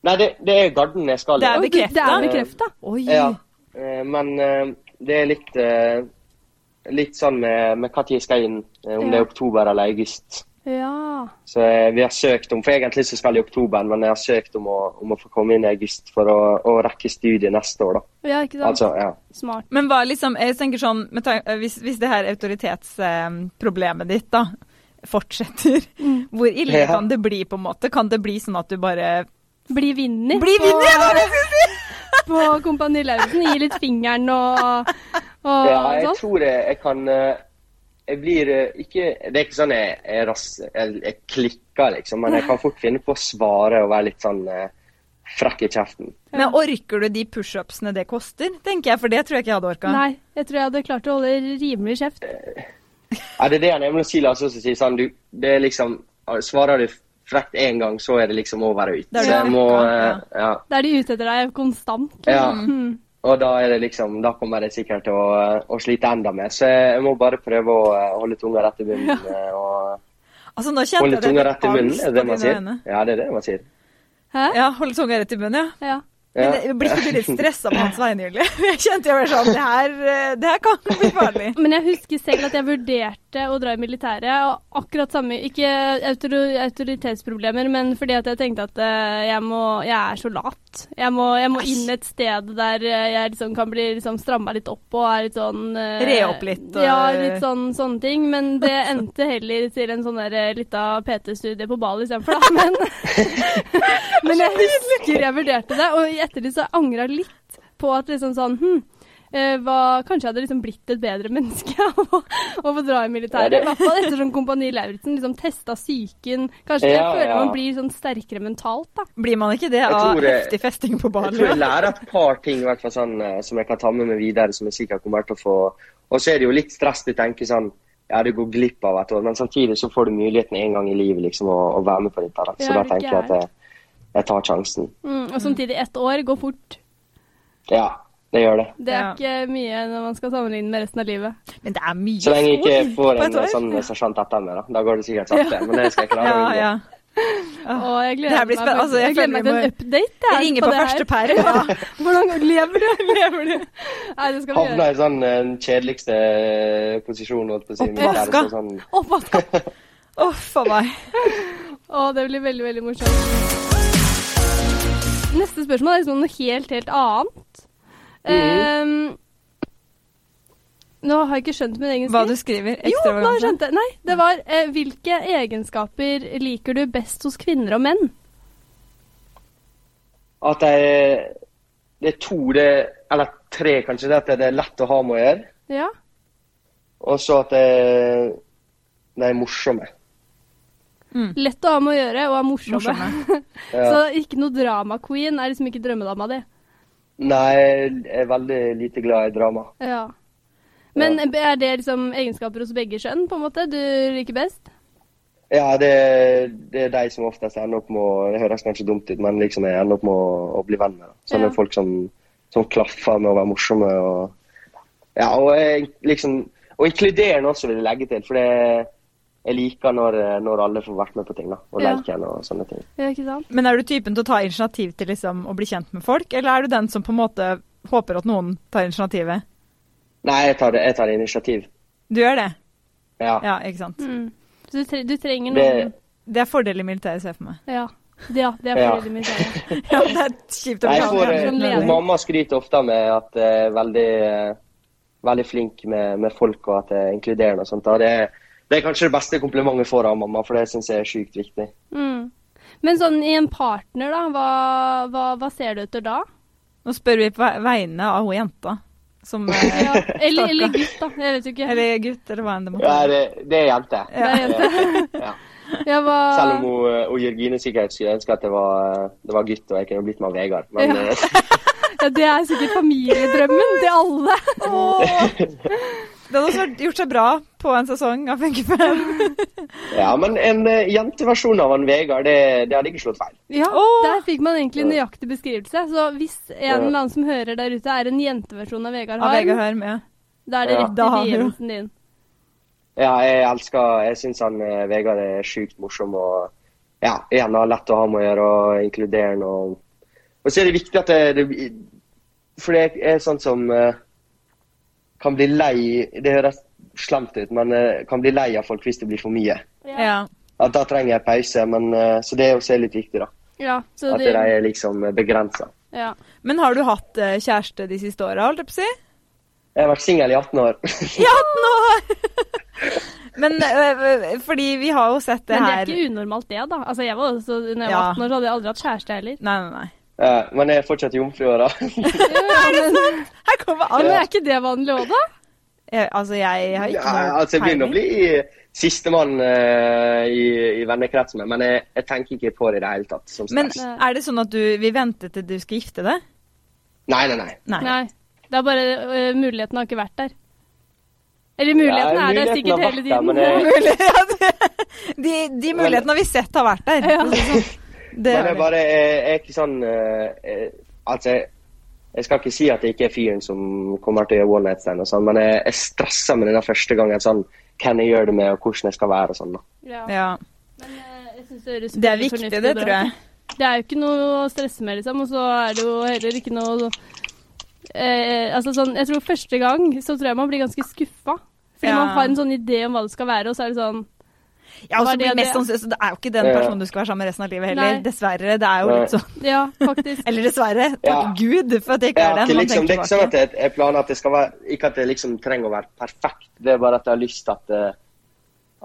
Speaker 3: Nei, det, det er Garden jeg skal i.
Speaker 1: Det er
Speaker 2: Oi, du- Det
Speaker 1: bekreftet.
Speaker 2: er bekrefta.
Speaker 1: Oi.
Speaker 3: Ja. Eh, Men eh, det er litt eh, Litt sånn med, med når jeg skal inn, eh, om
Speaker 2: Ja.
Speaker 3: det er oktober eller august.
Speaker 2: Ja.
Speaker 3: Så eh, vi har søkt om, for Egentlig så skal jeg i oktober, men jeg har søkt om å, om å få komme inn i august for å, å rekke studiet neste år. da.
Speaker 2: Ja, ikke sant?
Speaker 3: Altså, ja.
Speaker 2: Smart.
Speaker 1: eh, Men hva liksom Jeg tenker sånn med tanke, hvis, hvis det her autoritetsproblemet ditt, da fortsetter.
Speaker 2: Mm.
Speaker 1: Hvor ille
Speaker 3: Ja.
Speaker 1: kan det bli, på en måte? Kan det bli sånn at du bare
Speaker 2: Bli vinner.
Speaker 1: Bli
Speaker 2: på-
Speaker 1: vinner, ja, det
Speaker 2: På Kompani Lauritzen. Gi litt fingeren og, og
Speaker 3: Ja, jeg
Speaker 2: sånn.
Speaker 3: tror jeg, jeg kan eh, Jeg blir eh, ikke Det er ikke sånn jeg, jeg, ras, jeg, jeg klikker, liksom, men jeg kan fort finne på å svare og være litt sånn eh, frekk i kjeften.
Speaker 1: Men orker du de pushupsene det koster, tenker jeg, for det tror jeg ikke jeg hadde orka.
Speaker 2: Nei, jeg tror jeg hadde klart å holde rimelig kjeft.
Speaker 3: Ja, det er det han Emil Silas også sier. Sånn, du, det er liksom, svarer du frekt én gang, så er det liksom over og ut.
Speaker 1: Da er
Speaker 3: Så
Speaker 1: det
Speaker 3: jeg må,
Speaker 1: klokka,
Speaker 3: eh, ja.
Speaker 2: Da er de ute etter deg konstant.
Speaker 3: Ja.
Speaker 2: Mm.
Speaker 3: Og da er det liksom, da kommer jeg sikkert til å, å slite enda mer. Så jeg må bare prøve å eh, holde tunga rett i munnen. eh, Og
Speaker 1: Altså, nå kjente
Speaker 3: holde
Speaker 1: jeg det
Speaker 3: tunga
Speaker 1: litt
Speaker 3: rett i munnen,
Speaker 1: angst
Speaker 3: er det det
Speaker 1: på
Speaker 3: man
Speaker 1: dine
Speaker 3: sier?
Speaker 1: øyne.
Speaker 3: Ja, det er det man sier.
Speaker 2: Hæ?
Speaker 1: Ja, holde tunga rett i munnen, ja.
Speaker 2: Ja.
Speaker 3: Ja.
Speaker 1: Men det- blir ikke du litt stressa på hans vegne, Julie? Jeg kjente jeg ble sånn Det her, eh, det her kan bli farlig.
Speaker 2: Men jeg husker selv at jeg vurderte å dra i militæret, og akkurat samme Ikke autor autoritetsproblemer, men fordi at jeg tenkte at eh, jeg må Jeg er så lat. Jeg må, jeg må inn et sted der eh, jeg liksom kan bli liksom stramma litt opp og er litt sånn eh,
Speaker 1: Re opp litt, og-
Speaker 2: Ja, litt sånn sånne ting. Men det endte heller til en sånn der eh, lita PT-studie på Bali istedenfor, da. Men, men jeg husker jeg vurderte det, og i ettertid så angra jeg litt på at liksom sånn hm, eh, hva- kanskje jeg hadde liksom blitt et bedre menneske av å, av å dra i
Speaker 3: Ja,
Speaker 2: militæret.
Speaker 3: det-
Speaker 2: I hvert fall etter sånn Kompani Lauritzen liksom testa psyken. Kanskje jeg
Speaker 3: Ja,
Speaker 2: føler
Speaker 3: ja.
Speaker 2: man blir sånn sterkere mentalt, da.
Speaker 1: Blir man ikke det
Speaker 3: Jeg
Speaker 1: av
Speaker 3: tror det-
Speaker 1: heftig festing på
Speaker 3: Jeg tror jeg
Speaker 1: Bali?
Speaker 3: lærer et par ting i hvert fall sånn, eh, som jeg kan ta med meg videre, som jeg sikkert kommer til å få. Og så er det jo litt stress du tenker sånn Ja, du går glipp av et år, men samtidig så får du muligheten en gang i livet liksom å, å være med på dette. Da. Så
Speaker 2: Ja, det
Speaker 3: da
Speaker 2: er
Speaker 3: tenker jeg at jeg, jeg tar sjansen.
Speaker 2: Mm, og samtidig, ett år går fort.
Speaker 3: Ja, det gjør det.
Speaker 2: Det er
Speaker 1: Ja.
Speaker 2: ikke mye når man skal sammenligne med resten av livet.
Speaker 1: Men det er mye
Speaker 3: Så lenge jeg ikke
Speaker 1: spor
Speaker 3: får
Speaker 1: på
Speaker 3: en
Speaker 1: et år.
Speaker 3: sånn sersjant etter meg, da. Da går det sikkert sakte. Men det skal jeg klare å
Speaker 1: Ja,
Speaker 3: unngå.
Speaker 1: ja.
Speaker 2: Og
Speaker 1: Det
Speaker 2: jeg
Speaker 1: her
Speaker 2: gleder
Speaker 1: blir
Speaker 2: meg,
Speaker 1: spenn- altså, jeg
Speaker 2: jeg gleder meg til
Speaker 1: føler vi
Speaker 2: en update. Jeg,
Speaker 1: Ringe på
Speaker 2: det her.
Speaker 1: første pære. Ja.
Speaker 2: Hvordan lever du? Lever du? Nei, det skal vi
Speaker 3: Havna
Speaker 2: gjøre.
Speaker 3: i sånn eh, den kjedeligste eh, posisjon, holdt på å si.
Speaker 1: Oppvaska.
Speaker 3: militæret, så Sånn,
Speaker 2: Oppvaska.
Speaker 1: Å, faen meg.
Speaker 2: Å, det blir veldig, veldig morsomt. Neste spørsmål er liksom noe helt, helt annet.
Speaker 3: Mm.
Speaker 2: Ehm, nå har jeg ikke skjønt min egen
Speaker 1: Hva du
Speaker 2: skrift.
Speaker 1: skriver.
Speaker 2: Jo, nå har jeg
Speaker 1: Ekstravaganse.
Speaker 2: skjønt det. Nei, det var eh, hvilke egenskaper liker du best hos kvinner og menn?
Speaker 3: at jeg, det er to, det, eller tre kanskje, det at det er lett å ha med å gjøre.
Speaker 2: Ja.
Speaker 3: Og så at jeg, de er morsomme.
Speaker 2: Lett å ha med å gjøre og er morsomme.
Speaker 1: Morsomme.
Speaker 2: Så
Speaker 3: Ja.
Speaker 2: ikke noe drama-queen er liksom ikke drømmedama di.
Speaker 3: Nei, jeg er veldig lite glad i drama.
Speaker 2: Ja. Men er det liksom egenskaper hos begge kjønn, på en måte, du liker best?
Speaker 3: Ja, det, det er de som oftest ender opp med å Det høres kanskje dumt ut, men liksom jeg ender opp med å, å bli venn med. da. Sånne
Speaker 2: Ja.
Speaker 3: folk som, som klaffer med å være morsomme og Ja, og jeg, liksom Og inkluderende også, vil jeg legge til. For det, jeg liker når, når alle får vært med på ting, da. Og
Speaker 2: Ja.
Speaker 3: leken og sånne ting.
Speaker 2: Ja, ikke sant?
Speaker 1: Men er du typen til å ta initiativ til liksom, å bli kjent med folk, eller er du den som på en måte håper at noen tar initiativet?
Speaker 3: Nei, jeg tar, det- jeg tar initiativ.
Speaker 1: Du gjør det?
Speaker 3: Ja.
Speaker 1: Ja, ikke sant.
Speaker 2: Mm. Så du, tre du trenger
Speaker 3: Det,
Speaker 2: noen
Speaker 1: Det er fordel i militæret, ser jeg for meg.
Speaker 2: Ja. Det, ja, det er
Speaker 3: Ja.
Speaker 2: veldig mye sånn.
Speaker 1: Ja, det er kjipt å
Speaker 3: Nei,
Speaker 1: bli
Speaker 3: jeg får,
Speaker 2: det er
Speaker 1: kalt
Speaker 2: sånn
Speaker 3: eh,
Speaker 2: leder.
Speaker 1: det.
Speaker 3: mamma skryter ofte av meg at jeg er veldig, eh, veldig flink med, med folk og at jeg er inkluderende og sånt. Og det, det er kanskje det beste komplimentet jeg får av mamma, for det syns jeg er sjukt viktig.
Speaker 2: Mm. Men sånn i en partner, da, hva, hva, hva ser du etter da?
Speaker 1: Nå spør vi på vegne av hun jenta som eh,
Speaker 2: Ja. Eller, eller gutt, da. Jeg vet jo ikke.
Speaker 1: Eller gutt, eller hva enn det måtte
Speaker 3: Ja,
Speaker 1: være.
Speaker 3: det, det er jente.
Speaker 2: Det er jente.
Speaker 3: Ja.
Speaker 2: Ja, hva...
Speaker 3: Selv om hun, eh, hun Jørgine sikkert skulle ønske at det var, det var gutt og jeg kunne blitt med Vegard. Men
Speaker 2: Ja.
Speaker 3: eh,
Speaker 2: ja, det er sikkert familiedrømmen til alle.
Speaker 1: Det hadde også vært- gjort seg bra på en sesong av Funky Fem.
Speaker 3: ja, men en eh, jenteversjon av han Vegard, det, det hadde ikke slått feil.
Speaker 2: Ja,
Speaker 1: Åh.
Speaker 2: Der fikk man egentlig en nøyaktig beskrivelse. Så hvis en eller annen som hører der ute, er en jenteversjon av Vegard
Speaker 1: Av Vegard
Speaker 2: Harm,
Speaker 1: Hørm, ja.
Speaker 2: da er det
Speaker 3: Ja.
Speaker 2: rett
Speaker 1: Da
Speaker 2: i
Speaker 1: har vi jo-
Speaker 2: begynnelsen din.
Speaker 3: Ja, jeg elsker Jeg syns han eh, Vegard er sjukt morsom og ja, igjen har lett å ha med å gjøre og inkluderende. Og, og så er det viktig at det, det For det er sånn som eh, kan bli lei Det høres slemt ut, men eh, kan bli lei av folk hvis det blir for mye.
Speaker 1: ja.
Speaker 3: At da trenger jeg pause, men eh, Så det er også litt viktig, da.
Speaker 2: Ja, så
Speaker 3: At
Speaker 2: det,
Speaker 3: de er liksom begrensa.
Speaker 2: ja.
Speaker 1: Men har du hatt eh, kjæreste de siste åra, holdt jeg på å si?
Speaker 3: Jeg har vært singel i 18 år.
Speaker 1: I 18 år! Men eh, fordi vi har jo sett det
Speaker 2: Men det
Speaker 1: her
Speaker 2: er ikke unormalt det, da. Altså, jeg var også, når jeg var
Speaker 1: Ja.
Speaker 2: 18 år, så hadde jeg aldri hatt kjæreste heller.
Speaker 1: Nei, nei, nei.
Speaker 3: Eh, men jeg er fortsatt jomfru, da.
Speaker 2: Ja, men,
Speaker 1: Her kommer
Speaker 2: ja, men
Speaker 1: alle!
Speaker 2: er ikke det vanlig òg, da?
Speaker 1: Jeg, altså, jeg har ikke
Speaker 3: Ja, altså, jeg begynner å bli sistemann uh, i, i vennekretsen, min, men jeg, jeg tenker ikke på det i det hele tatt. Som
Speaker 1: Men
Speaker 3: stress.
Speaker 1: er det sånn at du vil vente til du skal gifte deg?
Speaker 3: Nei, nei, nei.
Speaker 1: Nei.
Speaker 2: Nei. Det er bare øh, Muligheten har ikke vært der. Eller muligheten
Speaker 3: Ja,
Speaker 2: er der
Speaker 3: muligheten
Speaker 2: sikkert
Speaker 3: har
Speaker 2: hele
Speaker 3: vært der,
Speaker 2: tiden.
Speaker 3: men det-
Speaker 1: Mulig- ja, det- De, de mulighetene vi har sett har vært der.
Speaker 2: Ja.
Speaker 1: Det
Speaker 3: men
Speaker 1: er
Speaker 3: jeg
Speaker 1: det.
Speaker 3: bare jeg, jeg er ikke sånn eh, eh, Altså, jeg, jeg skal ikke si at jeg ikke er fyren som kommer til å gjøre one night stand og sånn, men jeg, jeg stresser med denne første gangen sånn hvem jeg gjør det med, og hvordan jeg skal være og sånn. da.
Speaker 2: Ja.
Speaker 1: Ja.
Speaker 2: Men, øh, jeg synes det, høres
Speaker 1: Det er
Speaker 2: veldig
Speaker 1: viktig,
Speaker 2: fornuftig
Speaker 1: det
Speaker 2: og bra
Speaker 1: tror jeg.
Speaker 2: ut. Det er jo ikke noe å stresse med, liksom. Og så er det jo heller ikke noe sånn, eh, Altså sånn Jeg tror første gang så tror jeg man blir ganske skuffa. Fordi
Speaker 1: Ja.
Speaker 2: man har en sånn idé om hva det skal være, og så er det sånn
Speaker 1: Ja, og
Speaker 2: Var
Speaker 1: så blir
Speaker 2: det
Speaker 1: det mest
Speaker 2: det?
Speaker 1: sannsynlig, så det er jo ikke den
Speaker 3: Ja.
Speaker 1: personen du skal være sammen med resten av livet heller.
Speaker 2: Nei.
Speaker 1: Dessverre. Det er jo litt
Speaker 3: Nei.
Speaker 1: sånn.
Speaker 2: Ja, faktisk.
Speaker 1: Eller dessverre. Takk
Speaker 3: Ja.
Speaker 1: Gud for at jeg ikke
Speaker 3: Jeg
Speaker 1: er
Speaker 3: har
Speaker 1: den.
Speaker 3: ikke,
Speaker 1: Man
Speaker 3: liksom, det er
Speaker 1: tenker
Speaker 3: ikke sånn at
Speaker 1: tilbake.
Speaker 3: jeg, jeg planer at det skal være Ikke at jeg liksom trenger å være perfekt, det er bare at jeg har lyst til at, eh,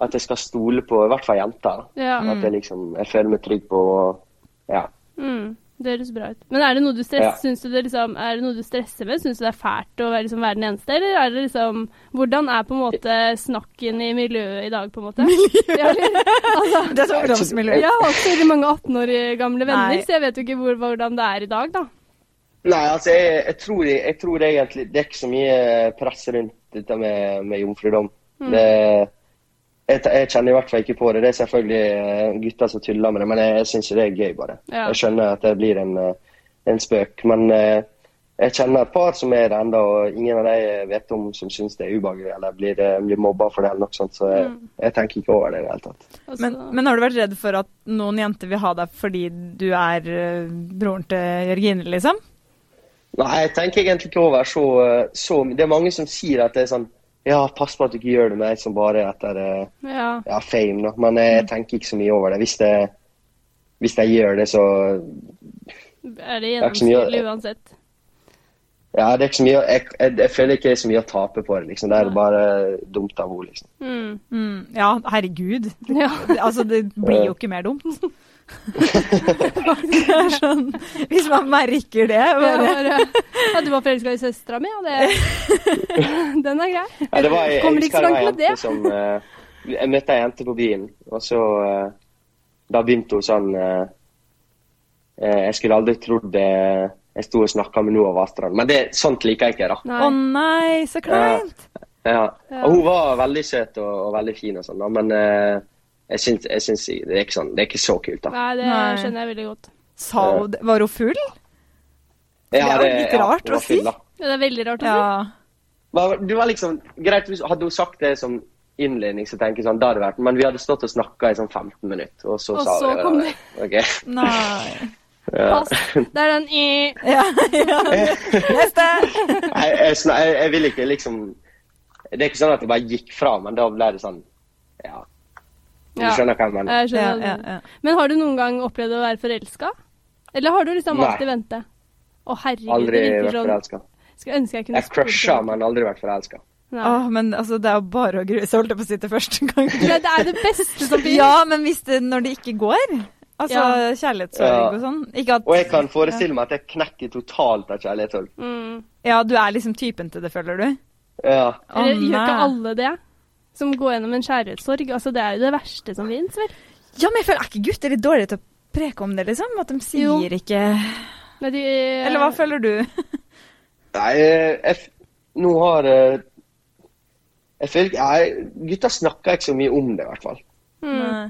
Speaker 3: at jeg skal stole på i hvert fall jenter. da.
Speaker 2: Ja.
Speaker 3: At jeg liksom jeg føler meg trygg på og ja.
Speaker 2: Mm, det høres bra ut. Men er det noe du, stress,
Speaker 3: Ja.
Speaker 2: synes du det liksom, er det noe du stresser med? Syns du det er fælt å være, liksom, være den eneste, eller er det liksom Hvordan er på en måte snakken i miljøet i dag, på en måte? Ja, eller- altså,
Speaker 1: Det er så ungdomsmiljø.
Speaker 2: jeg har også veldig mange 18 år gamle venner,
Speaker 1: Nei.
Speaker 2: så jeg vet jo ikke hvor, hvordan det er i dag, da.
Speaker 3: Nei, altså, jeg, jeg, tror, jeg tror egentlig det er ikke så mye press rundt dette med, med jomfrudom.
Speaker 2: Mm.
Speaker 3: Det, jeg, jeg kjenner i hvert fall ikke på det. Det er selvfølgelig eh, gutter som tuller med det, men jeg, jeg syns det er gøy, bare.
Speaker 2: Ja.
Speaker 3: Jeg skjønner at det blir en, eh, en spøk. Men eh, jeg kjenner et par som er det ennå, og ingen av de eh, vet om som syns det er ubehagelig eller blir, eh, blir mobba for det eller noe sånt, så jeg,
Speaker 2: Mm.
Speaker 3: jeg tenker ikke over det i det hele tatt.
Speaker 2: Altså,
Speaker 1: Men, men har du vært redd for at noen jenter vil ha deg fordi du er eh, broren til Jørgine, liksom?
Speaker 3: Nei, jeg tenker egentlig ikke over så, eh, så mye. Det er mange som sier at det er sånn Ja, pass på at du ikke gjør det med ei som bare er etter eh,
Speaker 2: ja.
Speaker 3: ja, fame, da. Men jeg tenker ikke så mye over det. Hvis, det, hvis jeg gjør det, så
Speaker 2: Er det
Speaker 3: er ikke så mye-
Speaker 2: gjennomsnittlig uansett?
Speaker 3: Ja, det er ikke så mye Jeg, jeg, jeg føler ikke det er så mye å tape på det, liksom. Det er bare dumt av henne, liksom.
Speaker 2: Mm.
Speaker 1: Mm, ja, herregud.
Speaker 2: Ja.
Speaker 1: Det- Altså, det blir jo ikke mer dumt. Det er sånn, hvis man merker det.
Speaker 2: Jeg
Speaker 1: Bare.
Speaker 2: var, eh, ja, du var forelska i søstera mi, ja. Det, den er grei.
Speaker 3: Ja, det var, jeg,
Speaker 2: Kommer
Speaker 3: jeg
Speaker 2: ikke så
Speaker 3: husker det var
Speaker 2: langt med
Speaker 3: en
Speaker 2: det.
Speaker 3: jente som eh, Jeg møtte ei jente på byen, og så eh, Da begynte hun sånn eh, eh, Jeg skulle aldri trodd det jeg sto og snakka med Noah Vastrand, men det, sånt liker jeg ikke. da.
Speaker 1: Å
Speaker 2: Nei.
Speaker 1: nei, så kleint.
Speaker 3: Ja.
Speaker 2: Ja.
Speaker 3: Og hun var veldig søt og, og veldig fin, og sånn, da, men eh, jeg syns, jeg syns det, er ikke sånn, det er ikke så kult, da.
Speaker 2: Nei, det
Speaker 1: Nei.
Speaker 2: skjønner jeg veldig godt.
Speaker 1: Sa hun det? Var hun full? Det er jo litt rart
Speaker 3: det var
Speaker 1: å si.
Speaker 3: fyll, da.
Speaker 2: Ja, Det er veldig rart å si.
Speaker 1: Ja.
Speaker 3: Men Det var liksom, greit, hvis- Hadde hun sagt det som innledning, så tenker jeg sånn, da hadde det vært Men vi hadde stått og snakka i sånn 15 minutter, og så
Speaker 2: Og
Speaker 3: sa
Speaker 2: så
Speaker 3: vi det.
Speaker 2: kom
Speaker 3: der. Ok.
Speaker 1: Nei.
Speaker 3: Ja.
Speaker 2: Pass. Det er den i
Speaker 1: Ja, ja. Neste!
Speaker 3: Jeg, jeg, sn- jeg, jeg vil ikke liksom Det er ikke sånn at det bare gikk fra, men da ble det sånn Ja. Du
Speaker 2: Ja.
Speaker 3: skjønner hva jeg mener?
Speaker 2: Jeg skjønner.
Speaker 1: Ja, ja, ja.
Speaker 2: Men har du noen gang opplevd å være forelska? Eller har du liksom
Speaker 3: Nei.
Speaker 2: alltid venta? Å, herregud,
Speaker 3: Aldri
Speaker 2: det virker
Speaker 3: vært
Speaker 2: sånn.
Speaker 3: forelska.
Speaker 2: Skulle ønske jeg kunne
Speaker 3: Jeg crusha,
Speaker 2: spurt
Speaker 3: men aldri vært forelska.
Speaker 2: deg. Nei.
Speaker 1: Åh, men altså, det er jo bare å grue seg, holdt jeg på å si til første gang.
Speaker 2: Ja, Det er det beste som finnes.
Speaker 1: Ja, men hvis det, når det ikke går. Altså
Speaker 2: Ja.
Speaker 1: kjærlighetssorg og sånn. Ikke at
Speaker 3: Og jeg kan forestille meg at jeg knekker totalt av kjærlighetssorg.
Speaker 2: Mm.
Speaker 1: Ja, du er liksom typen til det, føler du?
Speaker 3: Ja.
Speaker 1: Å,
Speaker 2: Eller gjør ikke
Speaker 1: nei.
Speaker 2: alle det? Som går gjennom en kjærlighetssorg. Altså, det er jo det verste som fins, vel.
Speaker 1: Ja, men jeg føler er ikke gutter litt dårlige til å preke om det, liksom? At de sier
Speaker 2: Jo.
Speaker 1: ikke
Speaker 2: Nei, de,
Speaker 1: Eller hva føler du?
Speaker 3: Nei, eh, jeg, f- nå har eh, Jeg føler ikke nei, Gutta snakker ikke så mye om det, i hvert fall.
Speaker 2: mm.
Speaker 1: Nei.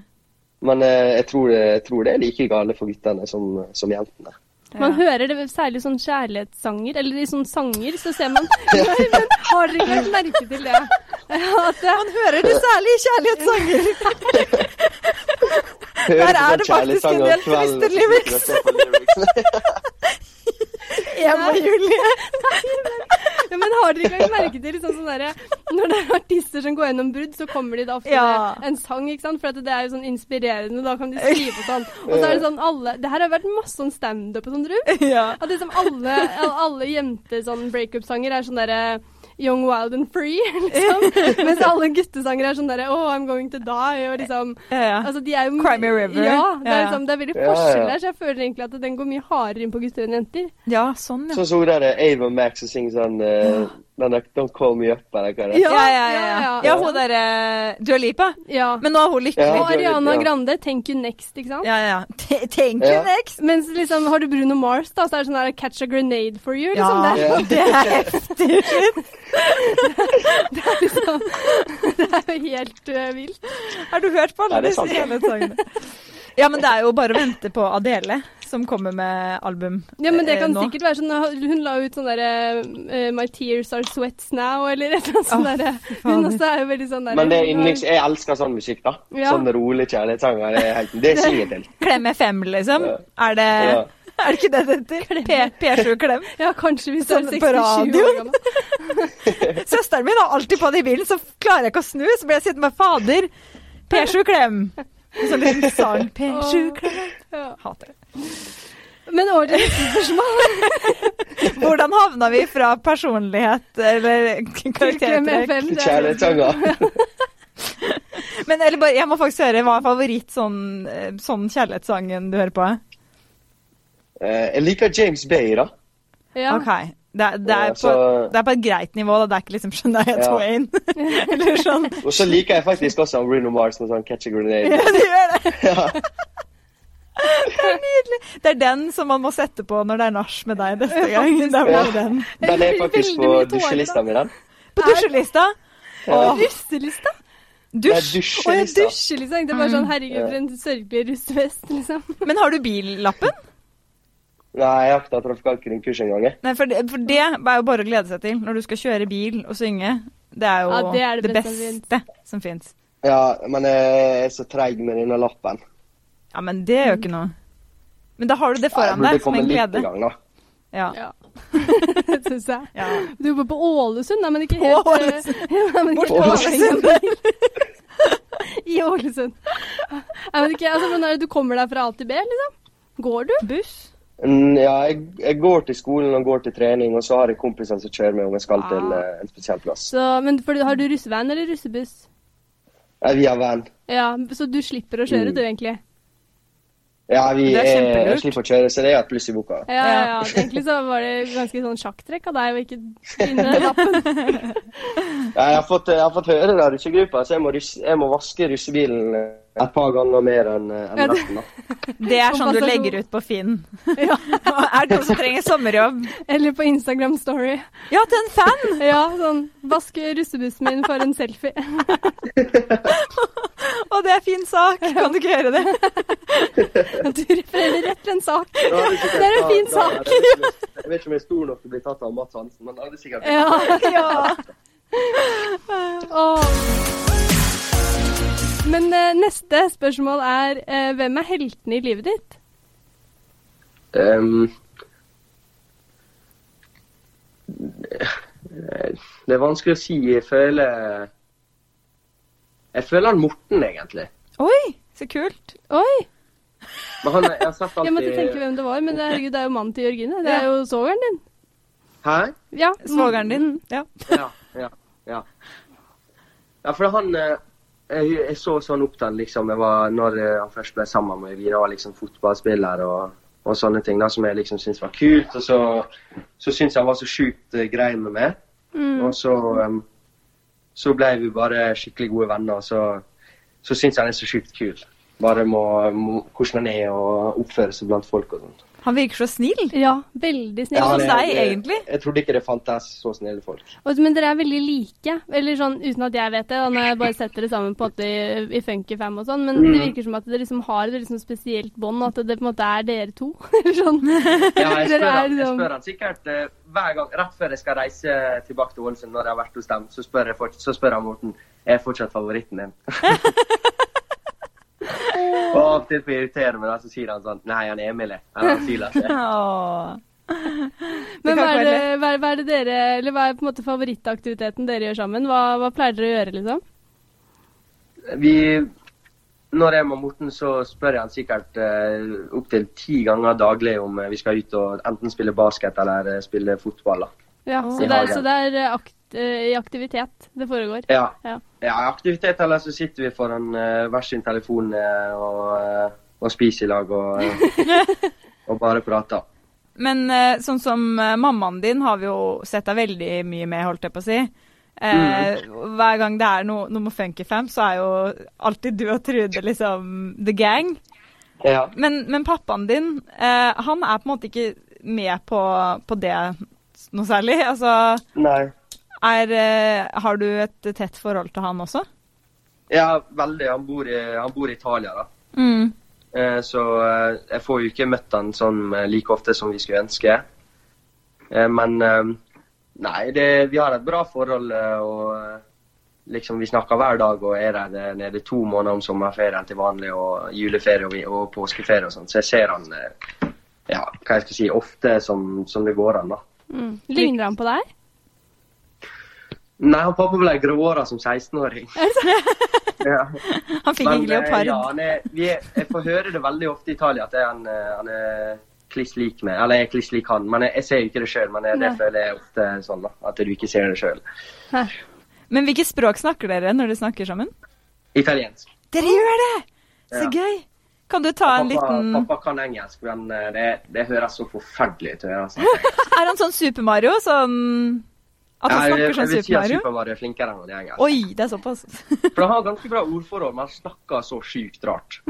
Speaker 3: Men eh, jeg, tror det, jeg tror det er like gale for guttene som, som jentene.
Speaker 2: Man
Speaker 1: Ja.
Speaker 2: hører det særlig i sånne kjærlighetssanger, eller i sånne sanger, så ser man Nei, men Har dere ikke lagt merke til det? At det
Speaker 1: Man hører det særlig i kjærlighetssanger. Der
Speaker 3: Hører på
Speaker 1: er
Speaker 3: sånn
Speaker 1: det faktisk en
Speaker 3: kjærlighetssanger
Speaker 1: del
Speaker 3: om kvelden,
Speaker 1: triste
Speaker 3: og så sitter du og ser på lyrics.
Speaker 1: Emma og Julie.
Speaker 2: Ja, men har dere ikke lagt merke til liksom, sånn derre- Når det er artister som går gjennom brudd, så kommer de da ofte
Speaker 1: Ja.
Speaker 2: med en sang, ikke sant? For at det er jo sånn inspirerende, da kan de skrive sånn. Og så er det sånn alle Det her har vært masse sånn standup og sånn rundt.
Speaker 1: Ja.
Speaker 2: At liksom alle, alle jente sånn breakup-sanger er sånn derre Young, wild and free, liksom. Mens alle guttesanger er sånn derre Oh, I'm going to die, og liksom
Speaker 1: Ja, ja.
Speaker 2: Altså, de er jo
Speaker 1: Cry Me a River.
Speaker 2: Ja, det er,
Speaker 1: Ja.
Speaker 2: liksom, det er veldig
Speaker 3: Ja, ja.
Speaker 2: forskjell der, så jeg føler egentlig at den går mye hardere inn på gutter enn jenter.
Speaker 1: ja, sånn, ja.
Speaker 3: Sånn som hun der Ava Max som synger sånn eh, den der, Don't call me up, eller hva det er.
Speaker 1: Ja, ja, ja. ja.
Speaker 2: ja.
Speaker 1: ja hun derre Dua Lipa.
Speaker 2: Ja.
Speaker 1: Men nå er hun lykkelig.
Speaker 2: og
Speaker 3: Ja.
Speaker 2: Ariana
Speaker 3: Ja.
Speaker 2: Grande, 'Thank You Next', ikke sant?
Speaker 1: Ja, ja. ja. T- Thank you
Speaker 3: Ja.
Speaker 1: next.
Speaker 2: Mens liksom, har du Bruno Mars, da, så er det sånn der 'Catch a grenade for you', liksom. Det,
Speaker 1: Ja,
Speaker 3: Ja.
Speaker 1: det er heftig.
Speaker 2: er liksom det er jo helt øh, vilt.
Speaker 1: Har du hørt på
Speaker 3: Ja,
Speaker 1: alle
Speaker 3: det er
Speaker 1: disse
Speaker 3: sant, ja.
Speaker 1: hele sangene? Ja, men det er jo bare å vente på Adele, som kommer med album
Speaker 2: Ja, men det
Speaker 1: eh,
Speaker 2: kan
Speaker 1: nå.
Speaker 2: sikkert være sånn Hun la ut sånn derre øh, 'My tears are sweats now', eller et eller annet sånt derre. Hun
Speaker 1: fader.
Speaker 2: også er jo veldig sånn derre
Speaker 3: Men det er yndlings Jeg elsker sånn musikk, da.
Speaker 2: Ja.
Speaker 3: Sånn rolig kjærlighetssanger. Det, er helt- det synger jeg til.
Speaker 1: Klem FM, liksom. Er det,
Speaker 3: Ja.
Speaker 1: er det ikke det det heter? P- P7 Klem.
Speaker 2: Ja, kanskje hvis du er
Speaker 1: Sånn på
Speaker 2: 67 år
Speaker 1: radioen.
Speaker 2: gammel.
Speaker 1: Søsteren min har alltid på det i bilen, så klarer jeg ikke å snu. Så blir jeg sittende med fader. P7 Klem. Sånn liten sang. P7 Klem.
Speaker 2: Ja.
Speaker 1: Hater det.
Speaker 2: Men årets lyttespørsmål
Speaker 1: Hvordan havna vi fra personlighet eller karaktertrekk
Speaker 2: FM, det er- sånn-
Speaker 3: Kjærlighetssanger.
Speaker 1: Men eller bare, jeg må faktisk høre, hva er favoritt sånn, eh, sånn kjærlighetssangen du hører på?
Speaker 3: Eh, jeg liker James Bay, da.
Speaker 2: Ja.
Speaker 1: OK. Det, er- det,
Speaker 3: Ja,
Speaker 1: er på,
Speaker 3: så-
Speaker 1: det er på et greit nivå, da. Det er ikke liksom Shania
Speaker 3: Ja.
Speaker 1: Twain. Eller sånn.
Speaker 3: Og så liker jeg faktisk også Bruno Mars med sånn Catch a Grenade.
Speaker 1: Ja, det gjør det. Det er nydelig. Det er den som man må sette på når det er nach med deg neste gang. Det er bare
Speaker 3: Ja.
Speaker 1: den.
Speaker 3: Den er faktisk
Speaker 2: Veldig
Speaker 3: på
Speaker 2: mye tårer, da.
Speaker 3: dusjelista mi, den.
Speaker 1: På dusjelista. Åh,
Speaker 2: Russelista?
Speaker 1: dusj.
Speaker 2: Å, jeg
Speaker 3: Dusjelista.
Speaker 2: dusjer, liksom. Det er
Speaker 1: Mm.
Speaker 2: bare sånn herregud, for en sørgelig russefest, liksom.
Speaker 1: Men har du billappen?
Speaker 3: Nei, jeg har ikke tatt trafikantgrunnkurs engang. jeg.
Speaker 1: Nei, for det, for det er jo bare å glede seg til når du skal kjøre bil og synge. Det er jo
Speaker 2: Ja, det
Speaker 1: det,
Speaker 2: er det beste
Speaker 1: beste, som
Speaker 2: som
Speaker 1: fins.
Speaker 3: Ja, men jeg er så treig med denne lappen.
Speaker 1: Ja, men det gjør ikke noe. Men da har du det foran
Speaker 3: Jeg burde
Speaker 1: deg som
Speaker 3: komme
Speaker 1: en
Speaker 3: litt i
Speaker 1: glede.
Speaker 3: gang, da.
Speaker 1: Ja.
Speaker 2: Ja. Det syns jeg.
Speaker 1: Ja.
Speaker 2: Du jobber på Ålesund, da, men ikke helt
Speaker 1: På
Speaker 2: eh, nei, men ikke
Speaker 1: Bort
Speaker 2: på
Speaker 1: på Ålesund.
Speaker 2: Ålesund. I Ålesund. Nei, men ikke, altså, men er det du kommer deg fra A til B, liksom? Går du?
Speaker 1: Buss.
Speaker 3: Mm, Ja, jeg, jeg går til skolen og går til trening, og så har jeg kompisene som kjører meg om jeg skal
Speaker 1: Ah.
Speaker 3: til eh, en spesiell plass.
Speaker 2: Så, men for, har du russevan eller russebuss?
Speaker 3: Nei, vi har venn.
Speaker 2: Ja, så du slipper å kjøre,
Speaker 3: Mm.
Speaker 2: du, egentlig?
Speaker 3: Ja, vi
Speaker 1: Det er
Speaker 3: er,
Speaker 1: kjempelurt.
Speaker 3: jeg slipper å kjøre, så det er et pluss i boka.
Speaker 2: Ja, ja, ja. Egentlig så var det ganske sånn sjakktrekk av deg å ikke finne lappen.
Speaker 3: Ja, jeg, har fått, jeg har fått høre det av russegruppa, så jeg må, russ, jeg må vaske russebilen eh, et par ganger mer enn eh, enn
Speaker 2: Ja, det-
Speaker 3: resten. da.
Speaker 1: Det er sånn du
Speaker 2: Kompensasjon.
Speaker 1: legger ut på Finn.
Speaker 2: Ja.
Speaker 1: Er det noen som trenger sommerjobb?
Speaker 2: Eller på Instagram Story.
Speaker 1: Ja, til en fan!
Speaker 2: Ja, sånn Vaske russebussen min for en selfie.
Speaker 1: Og det er fin sak. Kan du ikke gjøre det?
Speaker 2: Du refererer rett til en sak.
Speaker 3: Da hadde jeg sikkert-
Speaker 2: Det er en fin
Speaker 3: da- da
Speaker 2: sak.
Speaker 3: hadde jeg sikkert- Jeg vet ikke om jeg er stor nok til å bli tatt av Mats Hansen, men da hadde jeg sikkert
Speaker 2: Ja.
Speaker 1: Ja.
Speaker 2: Åh. Men eh, neste spørsmål er eh, hvem er heltene i livet ditt?
Speaker 3: Ehm, det er vanskelig å si. Jeg føler Jeg føler han Morten, egentlig.
Speaker 1: Oi, så kult.
Speaker 2: Oi!
Speaker 3: Men han, jeg har sett
Speaker 2: Jeg måtte
Speaker 3: alltid
Speaker 2: tenke hvem det var, men det- herregud, det er jo mannen til Jørgine. Det er jo svogeren din.
Speaker 3: Hæ?
Speaker 2: Ja.
Speaker 1: Svogeren din. Ja.
Speaker 3: Ja, ja, ja. ja for han eh, jeg, jeg så sånn opp til han liksom jeg var, når eh, han først ble sammen med Evira, var liksom fotballspiller og, og sånne ting da, som jeg liksom syntes var kult. Og så, så syntes jeg han var så sjukt eh, grei med meg.
Speaker 2: Mm.
Speaker 3: Og så, um, så ble vi bare skikkelig gode venner. og Så, så syns jeg han er så sjukt kul. Bare må, må, hvordan han er og oppfører seg blant folk og sånn.
Speaker 1: Han virker så snill.
Speaker 2: Ja, veldig snill.
Speaker 1: Ja, som
Speaker 3: det-
Speaker 1: deg,
Speaker 3: det-
Speaker 1: egentlig.
Speaker 3: Jeg trodde ikke det fantes så snille folk.
Speaker 2: Og, men dere er veldig like, eller sånn uten at jeg vet det, da, når jeg bare setter dere sammen på en måte i, i Funkyfam og sånn, men
Speaker 3: Mm.
Speaker 2: det virker som at dere liksom har et veldig sånn spesielt bånd, at det på en måte er dere to. eller sånn.
Speaker 3: Ja, jeg spør,
Speaker 2: Dere er
Speaker 3: han, jeg
Speaker 2: liksom-
Speaker 3: spør han sikkert eh, hver gang, rett før jeg skal reise tilbake til Ålesund, når jeg har vært hos dem, så spør, jeg fort, så spør han Morten er jeg fortsatt favoritten din. og av og til på irriterende, men da så sier han sånn Nei, han Emil er. Eller han Silas er.
Speaker 1: Åh.
Speaker 2: Men
Speaker 1: kan
Speaker 2: hva er,
Speaker 1: ikke
Speaker 2: det,
Speaker 1: være
Speaker 2: hva, er- hva er det dere, eller hva er på en måte favorittaktiviteten dere gjør sammen? Hva, hva pleier dere å gjøre, liksom?
Speaker 3: Vi, når jeg er med Morten, så spør jeg han sikkert eh, opptil ti ganger daglig om eh, vi skal ut og enten spille basket eller eh, spille fotball. da.
Speaker 2: Ja,
Speaker 1: Åh.
Speaker 2: så, det er, så det er eh, ak akt, eh, i aktivitet det foregår.
Speaker 3: Ja.
Speaker 2: Ja.
Speaker 3: ja, i aktivitet eller så sitter vi foran eh, hver sin telefon eh, og, eh, og spiser i lag og, eh, og bare prater.
Speaker 1: Men eh, sånn som eh, mammaen din har vi jo sett deg veldig mye med, holdt jeg på å si.
Speaker 2: Mm.
Speaker 1: Eh, Hver gang det er no, noe med Funkyfam, så er jo alltid du og Trude liksom the gang.
Speaker 3: Ja.
Speaker 1: Men, men pappaen din, eh, han er på en måte ikke med på, på det noe særlig. Altså,
Speaker 3: Nei.
Speaker 1: er, eh, har du et tett forhold til han også?
Speaker 3: Ja, veldig. Han bor i, han bor i Italia, da.
Speaker 1: Mm.
Speaker 3: Eh, Så eh, jeg får jo ikke møtt han sånn eh, like ofte som vi skulle ønske. Eh, Men eh, nei, det, vi har et bra forhold. eh, og eh, liksom Vi snakker hver dag og er der eh, nede to måneder om sommerferien til vanlig og juleferie og, vi- og påskeferie og sånn. Så jeg ser han eh, ja, hva jeg skal si, ofte som, som det går an. da.
Speaker 2: Mm. Ligner han på deg?
Speaker 3: Nei, han pappa ble gråhåra som 16-åring. ja.
Speaker 1: Han fikk ikke
Speaker 3: eh,
Speaker 1: leopard.
Speaker 3: Ja, han er, vi er, jeg får høre det veldig ofte i Italia at det er han, eh, han er kliss lik meg. Eller jeg er kliss lik han. Men jeg, jeg ser jo ikke det sjøl. Men jeg, det
Speaker 2: Nei.
Speaker 3: føler jeg ofte sånn, da. At du ikke ser det sjøl.
Speaker 2: Hæ.
Speaker 1: Men hvilke språk snakker dere når dere snakker sammen?
Speaker 3: Italiensk.
Speaker 1: Dere gjør det! Så
Speaker 3: Ja.
Speaker 1: gøy! Kan du ta en
Speaker 3: Pappa,
Speaker 1: liten
Speaker 3: pappa kan engelsk, men eh, det, det høres så forferdelig ut. å høre, altså.
Speaker 1: Er han sånn Super Mario? Sånn At han
Speaker 3: Jeg- jeg-
Speaker 1: snakker sånn
Speaker 3: Jeg vil si
Speaker 1: Super
Speaker 3: at
Speaker 1: Mario?
Speaker 3: Super Mario er flinkere enn han i engelsk.
Speaker 1: Oi, det er såpass.
Speaker 3: For han har ganske bra ordforråd, men han snakker så sjukt rart.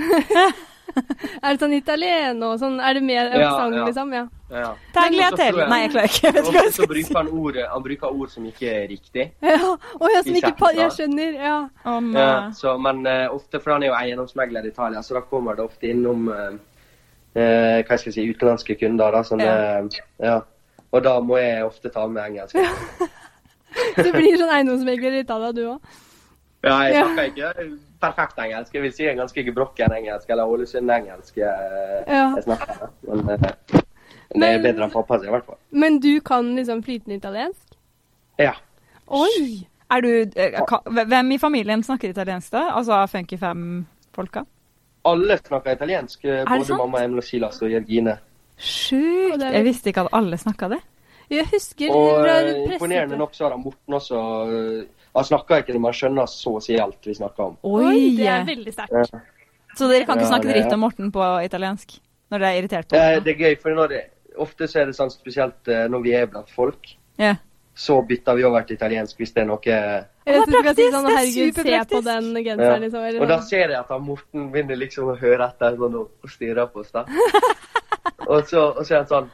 Speaker 2: Er det sånn italieno og sånn? Er det mer
Speaker 3: Ja,
Speaker 2: aksent,
Speaker 3: ja.
Speaker 2: liksom? Ja.
Speaker 3: Ja.
Speaker 1: Tagliatelle. Nei, jeg klarer ikke. Jeg vet ikke hva
Speaker 3: Ofte
Speaker 1: jeg
Speaker 3: så
Speaker 1: skal si.
Speaker 3: bruker han ord, han bruker ord som ikke er riktig.
Speaker 2: ja. Å ja, som ikke pa Jeg skjønner. Ja.
Speaker 1: Å nei.
Speaker 3: Ja, så, men eh, ofte, for han er jo eiendomsmegler i Italia, så da kommer det ofte innom eh, eh, hva skal jeg si, utenlandske kunder. Da, sånne, ja. Og da må jeg ofte ta med engelsk. Ja,
Speaker 2: Du blir sånn eiendomsmegler i Italia, du òg.
Speaker 3: jeg
Speaker 2: Ja.
Speaker 3: snakker ikke perfekt engelsk. Jeg vil si en ganske gebrokken engelsk, eller Ålesund-engelsk. eh,
Speaker 2: Ja.
Speaker 3: jeg snakker. da. Men eh, det
Speaker 2: Men-
Speaker 3: er bedre enn pappa sin, i hvert fall.
Speaker 2: Men du kan liksom flytende italiensk?
Speaker 3: Ja.
Speaker 2: Oi!
Speaker 1: Er du eh, ka- Hvem i familien snakker italiensk, da? Altså Funky Fam-folka?
Speaker 3: Alle snakker italiensk, eh,
Speaker 1: det
Speaker 3: både
Speaker 1: sant?
Speaker 3: mamma Emil og Silas og Jørgine.
Speaker 1: Sjukt! Jeg visste ikke at alle snakka det.
Speaker 2: Jeg husker
Speaker 3: Og
Speaker 2: fra
Speaker 3: eh, imponerende
Speaker 2: pressete-
Speaker 3: nok så har han Morten også eh, Han snakker ikke det, men han skjønner så å si alt vi snakker om.
Speaker 2: Oi, det er
Speaker 1: Oi!
Speaker 2: veldig sterkt.
Speaker 3: Ja.
Speaker 1: Så dere kan ikke
Speaker 3: Ja,
Speaker 1: snakke
Speaker 3: det er-
Speaker 1: dritt om Morten på italiensk? Når dere er irritert på
Speaker 3: Det,
Speaker 1: ham?
Speaker 3: Eh, det er gøy, for når det, ofte så er det sånn, spesielt eh, når vi er blant folk,
Speaker 1: Ja.
Speaker 3: så bytter vi over til italiensk hvis det er noe
Speaker 2: Eller
Speaker 1: Å,
Speaker 2: at
Speaker 1: det
Speaker 2: du
Speaker 1: er
Speaker 2: skal si
Speaker 1: praktisk,
Speaker 2: sånn
Speaker 1: det er
Speaker 2: Herregud, se på
Speaker 1: superpraktisk.
Speaker 2: den
Speaker 3: ja.
Speaker 2: genseren, liksom.
Speaker 3: Og
Speaker 2: Eller
Speaker 3: da
Speaker 2: noe.
Speaker 3: ser jeg at han Morten begynner liksom å høre etter sånn og stirre på oss. da. Og så, og så er han sånn